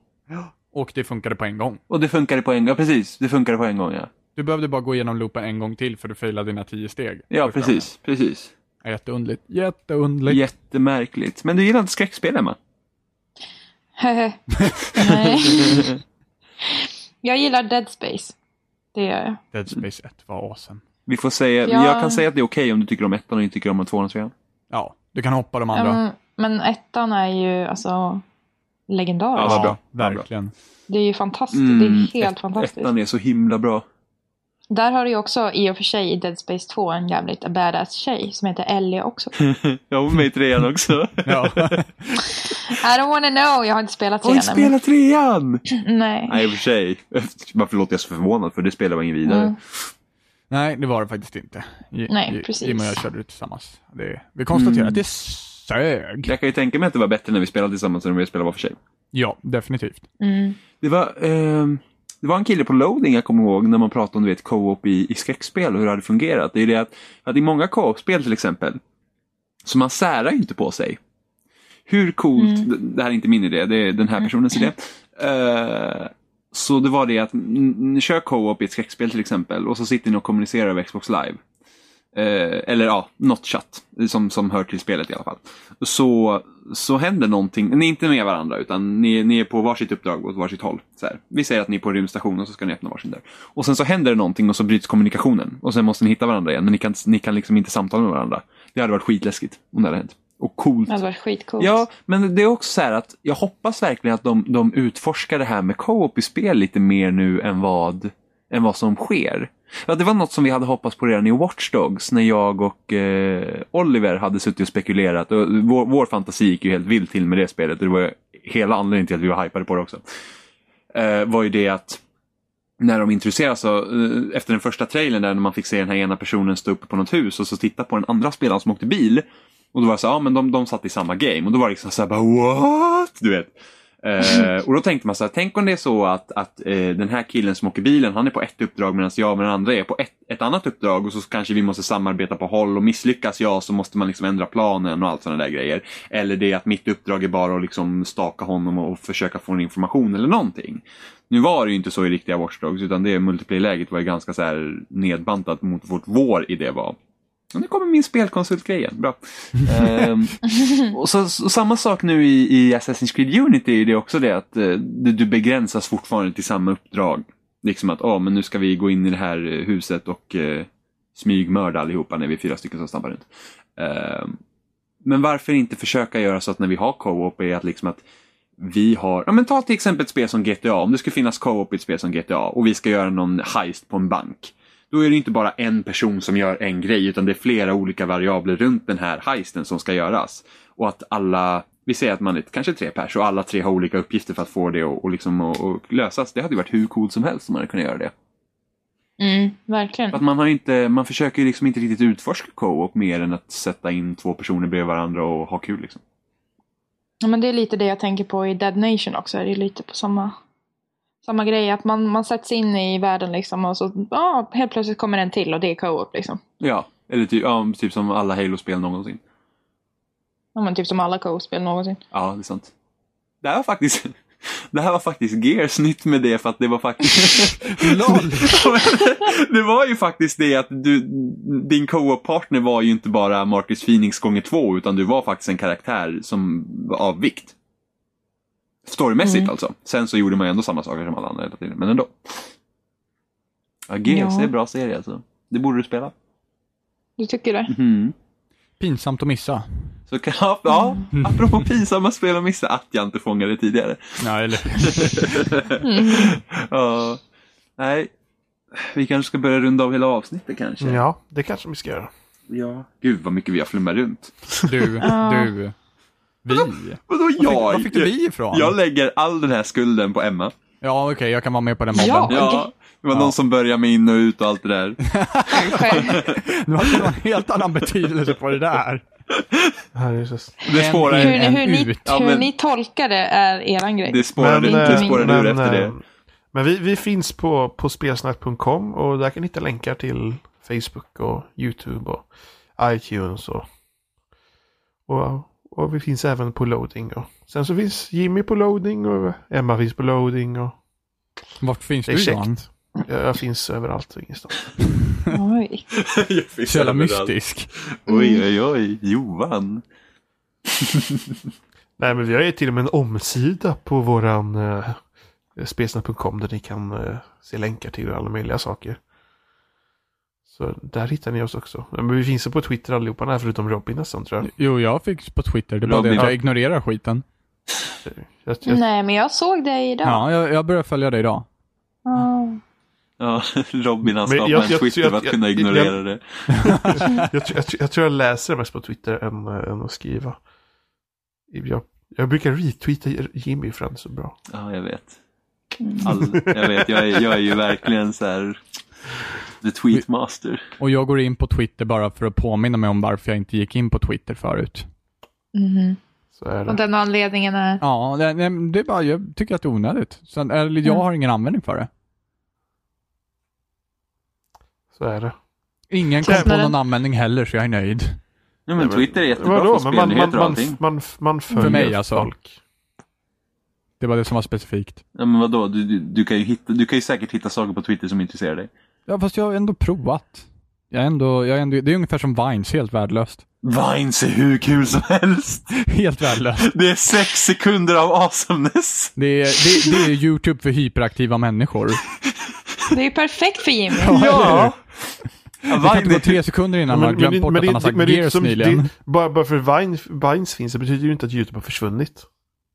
Och det funkade på en gång. Och det funkade på en gång. Ja, precis. Det funkade på en gång, ja. Du behövde bara gå igenom loopen en gång till för du failade dina 10 steg. Ja, första precis. Precis. gången. Jätteundligt. Jätteundligt. Jättemärkligt. Men du gillar inte skräckspel, Emma? Nej. jag gillar Dead Space. Det gör jag. Dead Space 1 var awesome. Vi får säga, Ja. jag kan säga att det är okej om du tycker om ettan och inte tycker om tvåan och trean. Ja, du kan hoppa de andra. Men, Ehm, men ettan är ju alltså legendarisk. Ja, vad bra. Vad bra. verkligen. Det är ju fantastiskt. Mm, det är helt ett- fantastiskt. Ettan är så himla bra. Där har du ju också i och för sig i Dead Space 2 en jävligt badass tjej som heter Ellie också. Jag var med i trean också. Ja. I don't wanna know, jag har inte spelat Oj, trean än. spela trean! Nej. Nej, i och för sig. Varför låter jag så förvånad? För det spelar var ingen vidare. Mm. Nej, det var det faktiskt inte. J- Nej, J- precis. Jim och jag körde det tillsammans. Det, vi konstaterar Mm. att det Sög. Jag kan ju tänka mig att det var bättre när vi spelade tillsammans än när vi spelade var för sig. Ja, definitivt. Mm. Det var, ehm, det var en kille på loading jag kommer ihåg när man pratade om du vet, co-op i, i skräckspel och hur det hade fungerat. Det är ju det att, att i många co-op-spel till exempel, så man särar ju inte på sig. Hur coolt, d- det här är inte min idé, det är den här personens idé. Eh, så det var det att, n- n- kör co-op i ett skräckspel till exempel och så sitter ni och kommunicerar över Xbox live. Eh, eller ja, något chatt som, som hör till spelet i alla fall. Så, så händer någonting, ni är inte med varandra utan ni, ni är på varsitt uppdrag åt varsitt håll. Så här. Vi säger att ni är på rymdstationen och så ska ni öppna varsin dörr. Och sen så händer det någonting och så bryts kommunikationen och sen måste ni hitta varandra igen men ni kan, ni kan liksom inte samtala med varandra. Det hade varit skitläskigt om det hade hänt. Och coolt. Det hade varit skitcoolt. Ja, men det är också så här att jag hoppas verkligen att de, de utforskar det här med co-op i spel lite mer nu än vad, än vad som sker. Ja, det var något som vi hade hoppats på redan i Watch Dogs när jag och eh, Oliver hade suttit och spekulerat. Och vår, vår fantasi gick ju helt vilt till med det spelet och det var hela anledningen till att vi var hypade på det också. Eh, var ju det att när de introduceras, så, eh, efter den första trailern där när man fick se den här ena personen stå uppe på något hus och så titta på den andra spelaren som åkte bil. Och då var jag så här, ja men de, de satt i samma game. Och då var det liksom så här, bara what? Du vet. Eh, och då tänkte man så här, tänk om det är så att, att eh, den här killen som åker bilen, han är på ett uppdrag medan jag med den andra är på ett, ett annat uppdrag och så kanske vi måste samarbeta på håll och misslyckas jag så måste man liksom ändra planen och allt sådana där grejer. Eller det är att mitt uppdrag är bara att liksom staka honom och försöka få information eller någonting. Nu var det ju inte så i riktiga Watch Dogs utan det multiplayer-läget var ju ganska så här nedbantat mot vårt vår idé var. Och nu kommer min spelkonsultgrej igen. Bra. Ehm, och så, så, samma sak nu i, i Assassin's Creed Unity, det är också det att eh, du, du begränsas fortfarande till samma uppdrag. Liksom att, ja men nu ska vi gå in i det här eh, huset och eh, smygmörda allihopa när vi är fyra stycken som stampar runt. Ehm, men varför inte försöka göra så att när vi har co-op är att liksom att vi har, ja men ta till exempel ett spel som GTA, om det skulle finnas co-op i ett spel som GTA och vi ska göra någon heist på en bank då är det inte bara en person som gör en grej utan det är flera olika variabler runt den här heisten som ska göras. Och att alla, vi säger att man är kanske tre pers och alla tre har olika uppgifter för att få det och, och, liksom, och, och lösas. Det hade ju varit hur coolt som helst om man hade kunnat göra det. Mm, verkligen. För att man, har ju inte, man försöker ju liksom inte riktigt utforska co-op mer än att sätta in två personer bredvid varandra och ha kul. Liksom. Ja, men det är lite det jag tänker på i Dead Nation också. Det är lite på samma, samma grej. Att man, man sätts in i världen liksom och så ja, helt plötsligt kommer en till och det är co-op liksom. Ja, eller typ, ja, typ som alla Halo-spel någonsin. Ja, men typ som alla co-op-spel någonsin. Ja, det är sant. Det här var faktiskt, det här var faktiskt Gears nytt med det för att det var faktiskt... LOL! det var ju faktiskt det att du, din co-op-partner var ju inte bara Marcus Phoenix gånger två utan du var faktiskt en karaktär som var av vikt. Storymässigt Mm. alltså. Sen så gjorde man ju ändå samma saker som alla andra hela tiden, men ändå. Ja, Gears Ja. det är en bra serie alltså. Det borde du spela. Du tycker det? Mhm. Pinsamt att missa. Så kan, ja, ja, apropå pinsamma spel och missa att jag inte fångade det tidigare. Ja, eller Ja. Nej. Vi kanske ska börja runda av hela avsnittet kanske. Ja, det kanske vi ska göra. Ja. Gud vad mycket vi har flummat runt. du, Ja. du, vi. Vadå jag? Var fick du vi ifrån? Jag lägger all den här skulden på Emma. Ja, okej, jag kan vara med på den mobben. Ja. Ja. Det var Ja. någon som började med in och ut och allt det där. Själv. Nu hade det en helt annan betydelse på det där. Här är just... Det En spårar, in, Hur, ni- en hur, ni, ut. Ja, hur men- ni tolkar det är eran grej. det spårar, Men, det eh, spårar ur efter det. eh, Men vi, vi finns på, på spelsnack.com och där kan ni hitta länkar till Facebook och YouTube och iTunes och, och, och vi finns även på loading. Och, sen så finns Jimmy på loading och Emma finns på loading och Vart finns det är du Johan? käckt. Jag, jag finns överallt och ingenstans. Oj. Jag fick Så jävla överallt. mystisk. Oj, oj, oj. Johan. Nej men vi har ju till och med en omsida på våran eh, spelsnack.com där ni kan eh, se länkar till alla möjliga saker. Så där hittar ni oss också. Ja, Men vi finns ju på Twitter allihopa, nej, förutom Robin nästan tror jag. Mm. Jo, jag fick på Twitter. Det är bara det Robin. att jag ignorerar skiten. Jag, jag, Nej, men jag såg dig idag. Ja, jag, jag börjar följa dig idag. Ja. Ja, Robin Men han skapade jag- en jag- Twitter jag- för att jag- kunna jag- ignorera det. jag, tror- jag, tror- jag tror jag läser mest på Twitter än, eh, än att skriva. Jag, jag brukar retweeta Jimmy för han är så bra. Ja, jag vet. All, jag vet, jag är, jag är ju verkligen så här the tweet master. Och jag går in på Twitter bara för att påminna mig om varför jag inte gick in på Twitter förut. Mhm. Så är Och det. den anledningen är... Ja, det, nej, men det är bara, jag tycker att det är onödigt. Sen, eller jag Mm. har ingen användning för det. Så är det. Ingen kom på Kostnaden. någon användning heller, så jag är nöjd. Ja, men Twitter är jättebra Vadå? för Men man, man, spelnyheter och man, allting. man, man följer För mig alltså. folk. Det var det som var specifikt. Ja, men vadå? Du, du, du, kan ju hitta, du kan ju säkert hitta saker på Twitter som intresserar dig. Ja, fast jag har ändå provat. Jag är ändå, jag är ändå, det är ungefär som Vines, helt värdelöst. Vines är hur kul som helst! Helt värdelöst. Det är sex sekunder av awesomeness! Det är, det, det är YouTube för hyperaktiva människor. Det är ju perfekt för Jimmy. eller hur? Det kan Vine inte gå tre sekunder innan man har glömt bort att han har sagt det är inte Gears nyligen. det- bara, bara för Vine, Vines finns, det betyder ju inte att YouTube har försvunnit.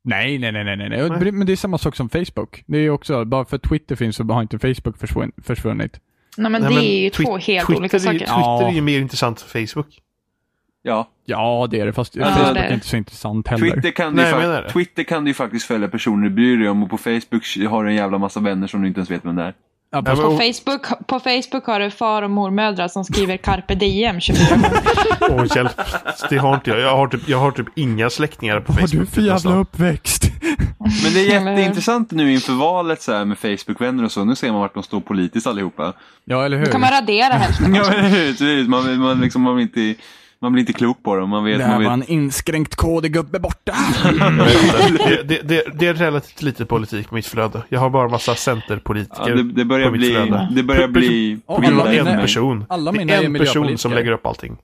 Nej, nej, nej, nej, nej, nej. Nej. Men det är samma sak som Facebook. Det är också, bara för att Twitter finns så har inte Facebook försvun- försvunnit. Nej, men Nej, det är ju Twi- två helt Twitter olika är, ju- saker. Twitter är ju mer intressant än Facebook. ja, Ja, det är det, fast Ja, Facebook det är är det. inte så intressant heller. Twitter kan, Nej, du jag fa- menar det. Twitter kan du ju faktiskt följa personer du bryr dig om och på Facebook har du en jävla massa vänner som du inte ens vet vem det är. Ja, Ja, fast, men, På och, Facebook, på Facebook har du far och mormödrar som skriver carpe diem 24 gånger. och hjälp, det har inte jag. Jag har typ, jag har typ inga släktingar på vad har Facebook. alltså. du för jävla uppväxt? Men det är Eller hur? jätteintressant nu inför valet så här med Facebook-vänner och så. Nu ser man vart de står politiskt allihopa. ja, eller hur? Då kan man radera hälften. Ja, men precis. man, man, liksom, man, blir inte, man blir inte klok på dem. Man vet, man vet. en inskränkt kodigubbe borta. Det, det, det, det är relativt lite politik på mitt flöde. Jag har bara massa centerpolitiker Ja, det, det börjar på mitt bli... flöde. Det börjar bli... På grund av Alla mina- en person. alla det mina är är en person som miljöpolitiker. lägger upp allting.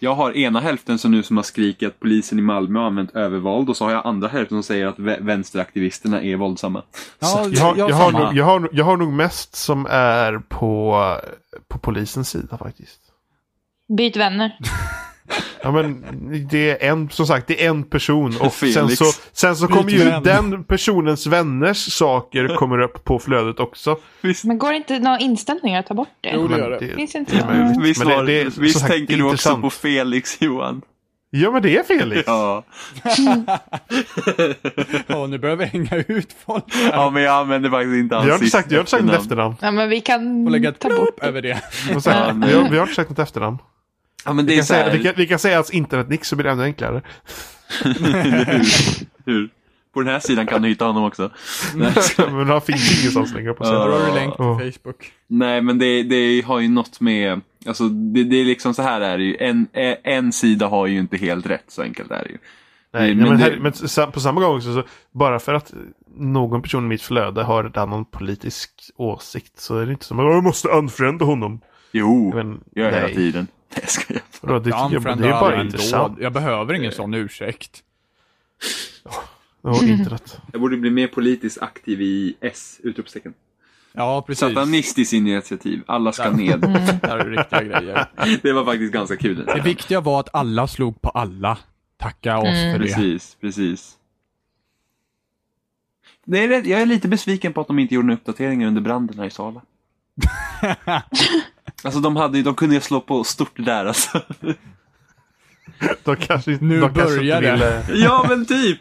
Jag har ena hälften som nu som har skrikit att polisen i Malmö har använt övervåld och så har jag andra hälften som säger att vä- vänsteraktivisterna är våldsamma. Ja, Jag har, jag, har samma. nog, jag, har, jag har nog mest som är på, på polisens sida faktiskt. Byt vänner. Ja, men det är en, som sagt, det är en person och Felix. sen så, sen så kommer ju vän. den personens vänners saker kommer upp på flödet också. Men går det inte några inställningar att ta bort det? Jo, det Men gör det. Finns inte det är det? möjligt. Visst, Men det- var, det är- som visst sagt, det tänker är du också intressant. på Felix Johan? Ja men det är Felix. Ja. Ja, nu börjar vi hänga ut folk. ja, men jag använder faktiskt inte Jag hans har inte sista sagt, jag har inte sagt något efternamn. Ja, men vi kan Och lägga ett ta bort plopp det. över det. Som sagt, Ja, men- vi, har, vi har inte sagt något efternamn. Ja, men Vi det är kan, så säga, vi, här. kan, vi kan säga hans internetnick så blir det ännu enklare. Hur? På den här sidan kan du hitta honom också. Nej, Men han finns ingenstans längre på Då sig. har du länk Ja. till Facebook. Nej, men det, det har ju något med... Alltså, det, det är liksom så här är det ju. En, eh, en sida har ju inte helt rätt, så enkelt är det ju. Nej, men men, det- här, men sa- på samma gång också, så bara för att någon person i mitt flöde har en annan politisk åsikt så är det inte som att jag måste unfrienda honom. Jo, Men, gör jag hela nej. tiden. Nej, jag skojar. Vadå, det, Ja, jag, för det är alla bara ändå. intressant. Jag behöver ingen sån ursäkt. Och internet. Jag borde bli mer politiskt aktiv i S! Utropstecken. Ja, precis. Satanistiskt initiativ. Alla ska ned. Där är det riktiga grejer. Det var faktiskt ganska kul. Det viktiga var att alla slog på alla. Tacka oss Mm. för det. Precis, precis. Det är rätt, jag är lite besviken på att de inte gjorde några uppdateringar under branden här i Sala. alltså de, hade, ju- de kunde ju slå på stort där alltså. De kanske, inte- Nu de kanske börjar inte det. ville... ja men typ!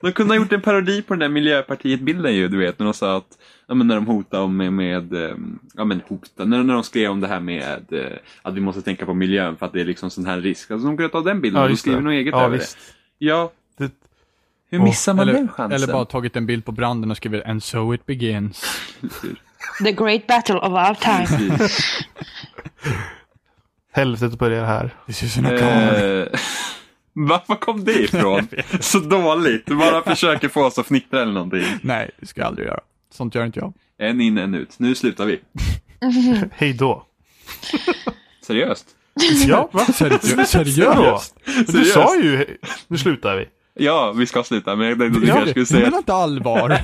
De kunde ha gjort en parodi på den där Miljöpartiet-bilden ju, du vet, när de sa att Ja, men när de hotade om med, med ehm, ja men hota, när, när de skrev om det här med eh, att vi måste tänka på miljön för att det är liksom sån här risk. Alltså de kunde ta den bilden Ja, och då just skriver det. något eget Ja, över visst. det. Ja, Det, hur missar man den Eller, chansen? eller bara tagit en bild på branden och skrivit And so it begins. The great battle of our time. Precis. helvetet börjar här. This is an account. Eh, Varför kom det ifrån? så dåligt. Du bara försöker få oss att fnittra eller någonting. Nej, det ska jag aldrig göra. Sånt gör inte jag. En in, en ut. Nu slutar vi. Hej då. Seriöst. Ja, va? Seriö- Seriöst? Seriöst? Du sa ju nu slutar vi. Ja, vi ska sluta, men jag tänkte att du Ja, kanske skulle Du säga... menar inte allvar?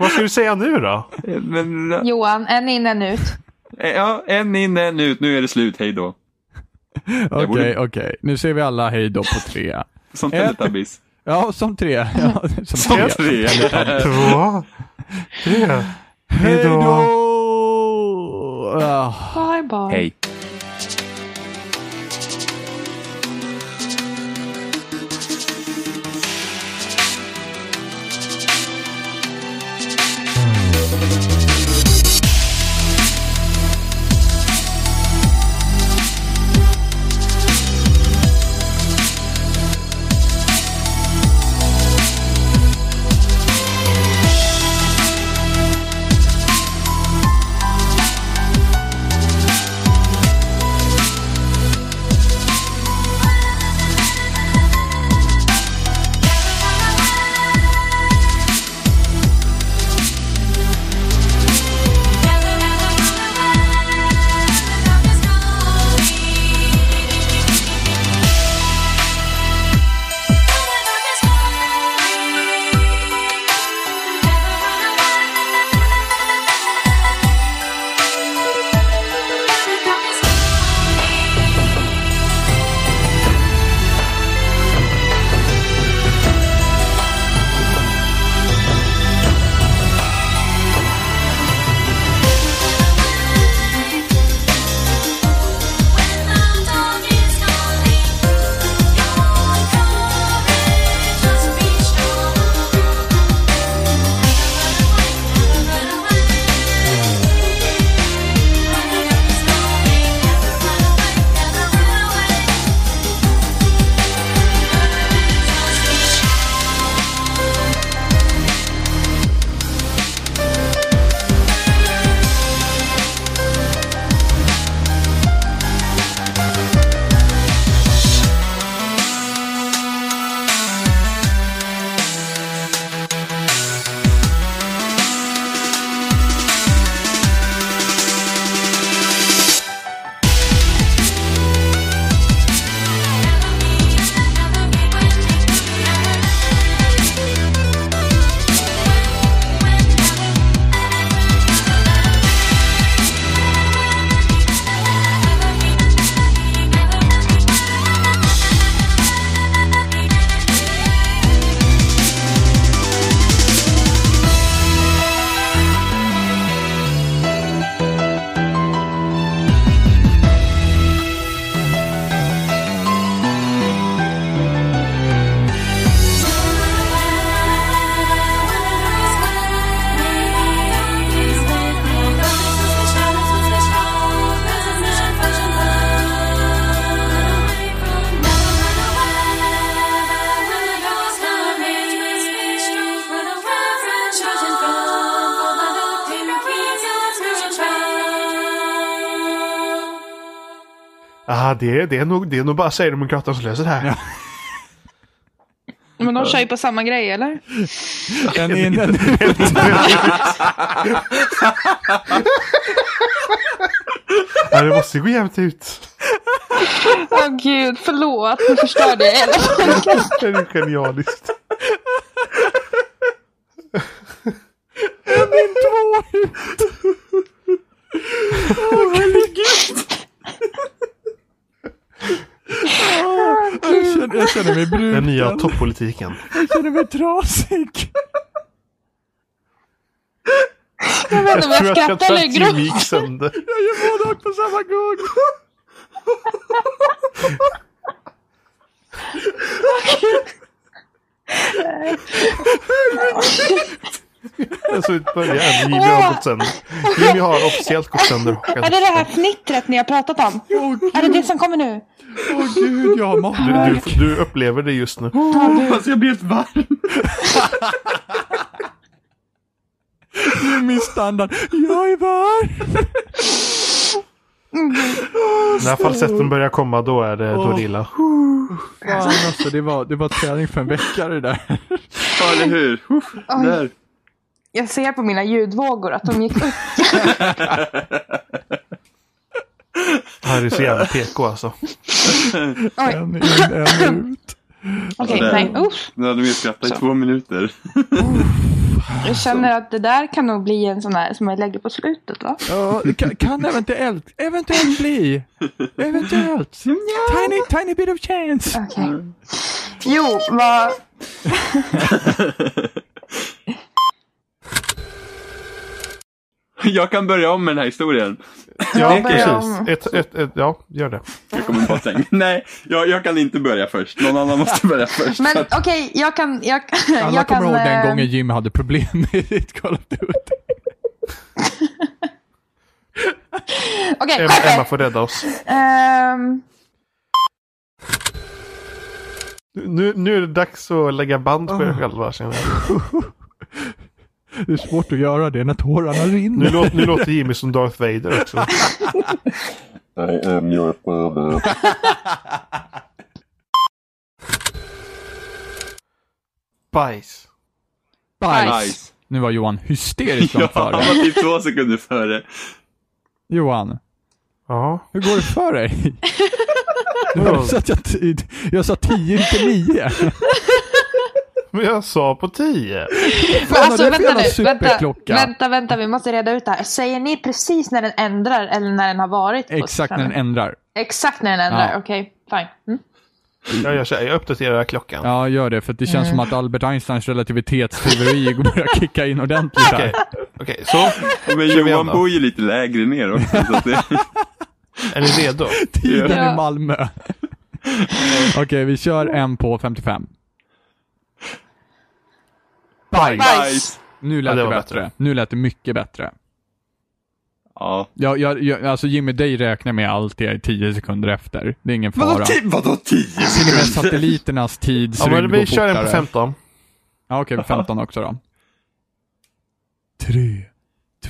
Vad ska du säga nu då? Men, Johan, en in, en ut. Eh, ja, en in, en ut. Nu är det slut. Hej då. Okej, borde- okej. Nu ser vi alla hej då på tre. Som Ett. Teletubbies. Ja, som tre. Ja, som Som tre. tre. Eh. Två, tre, Hej hej då. då! Ah. Bye, bye. Hej. ah, det, det, är nog, det är nog bara Sverigedemokraterna som löser det här. Men de kör ju på samma grej, eller? En, en, en, Ja, det måste ju gå jämnt ut. Åh gud, förlåt. Nu förstörde jag hela podcasten. Det är ju genialiskt. Ah, jag, känner, jag känner mig Den Mm. bruten. nya toppolitiken. Jag känner mig trasig. Jag vet inte om jag ska skrattar eller tvätta gråter. Jimik sönder. Jag gör båda och på samma gång. Jag såg ut början. Jimmy har gått sönder. Jimmy har officiellt gått sönder. Är det det här fnittret ni har pratat om? Åh gud, Är det det som kommer nu? åh gud, jag har Du, magvärk. du, du upplever det just nu. Alltså jag blir helt varm. Det är min standard. Jag är varm. När falsetten börjar komma då är det, då är det illa. Fan alltså, det var, det var träning för en vecka det där. Ja, eller hur? Uff, där. Jag ser på mina ljudvågor att de gick upp. Han är så jävla PK alltså. Oj, En in, en ut. okej. Sådär. nej, usch. Nu hade vi skrattat i två minuter. Jag känner att det där kan nog bli en sån här som jag lägger på slutet, va? Ja, det kan, kan eventuellt, eventuellt bli. Eventuellt. Tiny, tiny bit of chance. Okej. Jo, vad... Jag kan börja om med den här historien. Ja, Jag börjar precis. om. Ett, ett, ett, ja, gör det. Jag kommer på säng. Nej, jag, jag kan inte börja först. Någon annan måste börja först. Men Så att- okej, jag kan... Jag, Alla jag kan, kommer ihåg den eh, gången Jim hade problem med sitt Call of Duty. Okej, Emma, skärp Emma er! får rädda oss. Ehm, Nu, nu är det dags att lägga band på er själva känner jag. Det är svårt att göra det när tårarna Nu, rinner. låter, nu låter Jimmy som Darth Vader också. I am your father. Bajs. Bajs. Nice. Nu var Johan hysterisk Ja, långt han före. var typ två sekunder före. Johan, Ja. hur går det för dig? Det var Ja. så att jag, t- jag sa 10 till 9. Men jag sa på 10. Men alltså det är för vänta jävla nu, vänta, superklocka? vänta, vänta, vi måste reda ut det här. Säger ni precis när den ändrar eller när den har varit? på Exakt när den stranden? ändrar. Exakt när den ändrar, Ja. okej, fine. Mm. Jag, gör så här, jag uppdaterar klockan. Ja, gör det. För att det känns som att Albert Einsteins relativitetsteori börjar kicka in ordentligt här. Okej, Okej, så. Men igen Johan då. bor ju lite lägre ner också. Så att det... Är ni redo? Tiden Ja. i Malmö. Okej, vi kör en på 55. Bajs. Bajs. Nu Ja, lät det det var bättre. bättre. Nu lät det mycket bättre. Ja. Ja, jag, jag, alltså Jimmy, dig räknar med allt det är 10 sekunder efter. Det är ingen fara. Vadå, ti- vadå tio Till och med sekunder? satelliternas tidsrymd Ja, men vi går kör en fortare. på 15. Ja, okej, 15 också då. 3,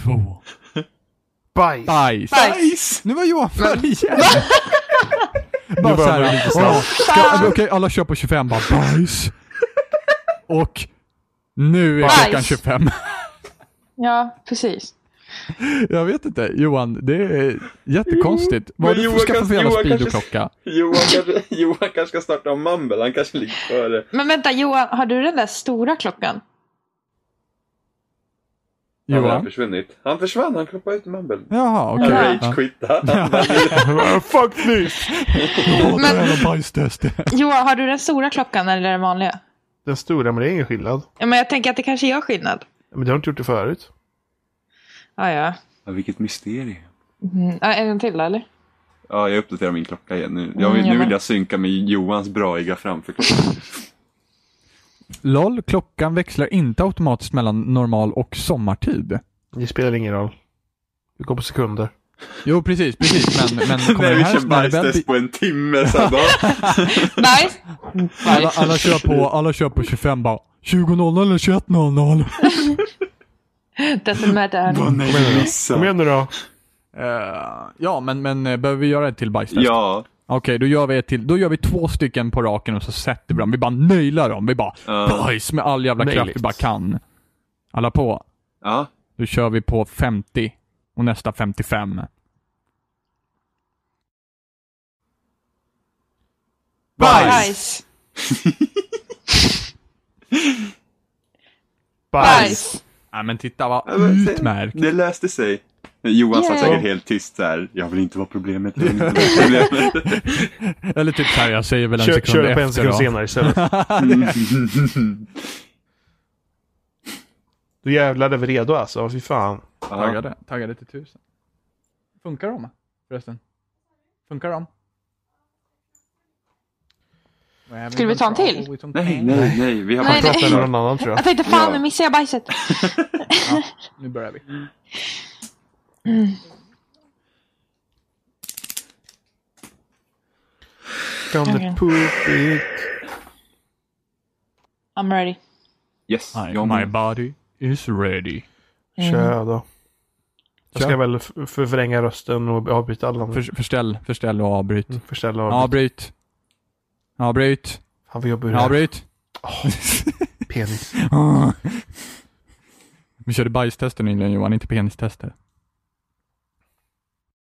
2, Bajs. bajs. Nice. Nu var Johan för igen. Nu bara börjar såhär, man lite åh, snabbt. ska- okej alla kör på 25 bara bajs. Och nu är Bajs. klockan 25. Ja, precis. Jag vet inte, Johan, det är jättekonstigt. Vad har men du Johan för skaffa kanske- för jävla Johan kanske- speedoklocka? Johan kanske, Johan kanske ska starta om Mumble, han kanske ligger före. Men vänta, Johan, har du den där stora klockan? Han har Johan? försvunnit. Han försvann, han knoppade ut Mumble. Jaha, okej. Han Ja. rage-quittade. Fuck this! Men- jävla bajstest. Johan, har du den stora klockan eller den vanliga? Den stora, men det är ingen skillnad. Ja, men jag tänker att det kanske gör skillnad. Men du har inte gjort det förut. Ja, ja. Ja, vilket mysterium. Mm. ja en till då, eller? Ja, jag uppdaterar min klocka igen nu. Jag, vill- Mm, ja, nu vill men- jag synka med Johans braiga framförklocka. LOL, klockan växlar inte automatiskt mellan normal och sommartid. Det spelar ingen roll. Vi går på sekunder. Jo, precis, precis, men, men kommer Nej, den vi här kör bajstest snarrbältet... på en timme sen då. Nice! Alla, alla, kör på, alla kör på 25 bara. 20.00 eller 21.00? Doesn't matter. hörni. Vad nej, Kom igen nu vi då. Kom missade. igen nu då. Eh, ja, men, men eh, behöver vi göra ett till bajstest? Ja, Okej, då gör vi ett till. Då gör vi två stycken på raken och så sätter vi dem. Vi bara nailar dem. Vi bara Ja. boys med all jävla kraft vi Nailigt. bara kan. Alla på. Ja, Då kör vi på 50 och nästa 55. Bajs. Bajs. Bajs. Nej men titta vad Ja, men se, utmärkt. Det löste sig. Johan satt Yay. säkert helt tyst så här. Jag vill inte vara problemet. Jag vill inte vara problemet. Eller typ såhär, jag säger väl en Kör, sekund kör det på efter en sekund senare då. istället. Då jävlar är vi redo alltså. Fy fan. ja. Taggade, taggade till tusen. Funkar de förresten? Funkar de? Skulle vi ta en till? Oh, Nej, nej, nej. Vi har Nej, Prata bara pratat med med någon. någon annan tror jag. Jag tänkte fan Ja. nu missade jag bajset. Nu börjar vi. Come the poop it. I'm ready. Yes. jag My med. body is ready. Mm. Kör då. Jag ska Kör. väl f- förvränga rösten och avbryta alla. andra. För, förställ, förställ och avbryt. Mm. Förställa och avbryta. Avbryt. Avbryt. Han vill jobba ur det här. Avbryt. Penis. Vi körde bajstester nyligen Johan, inte penistester.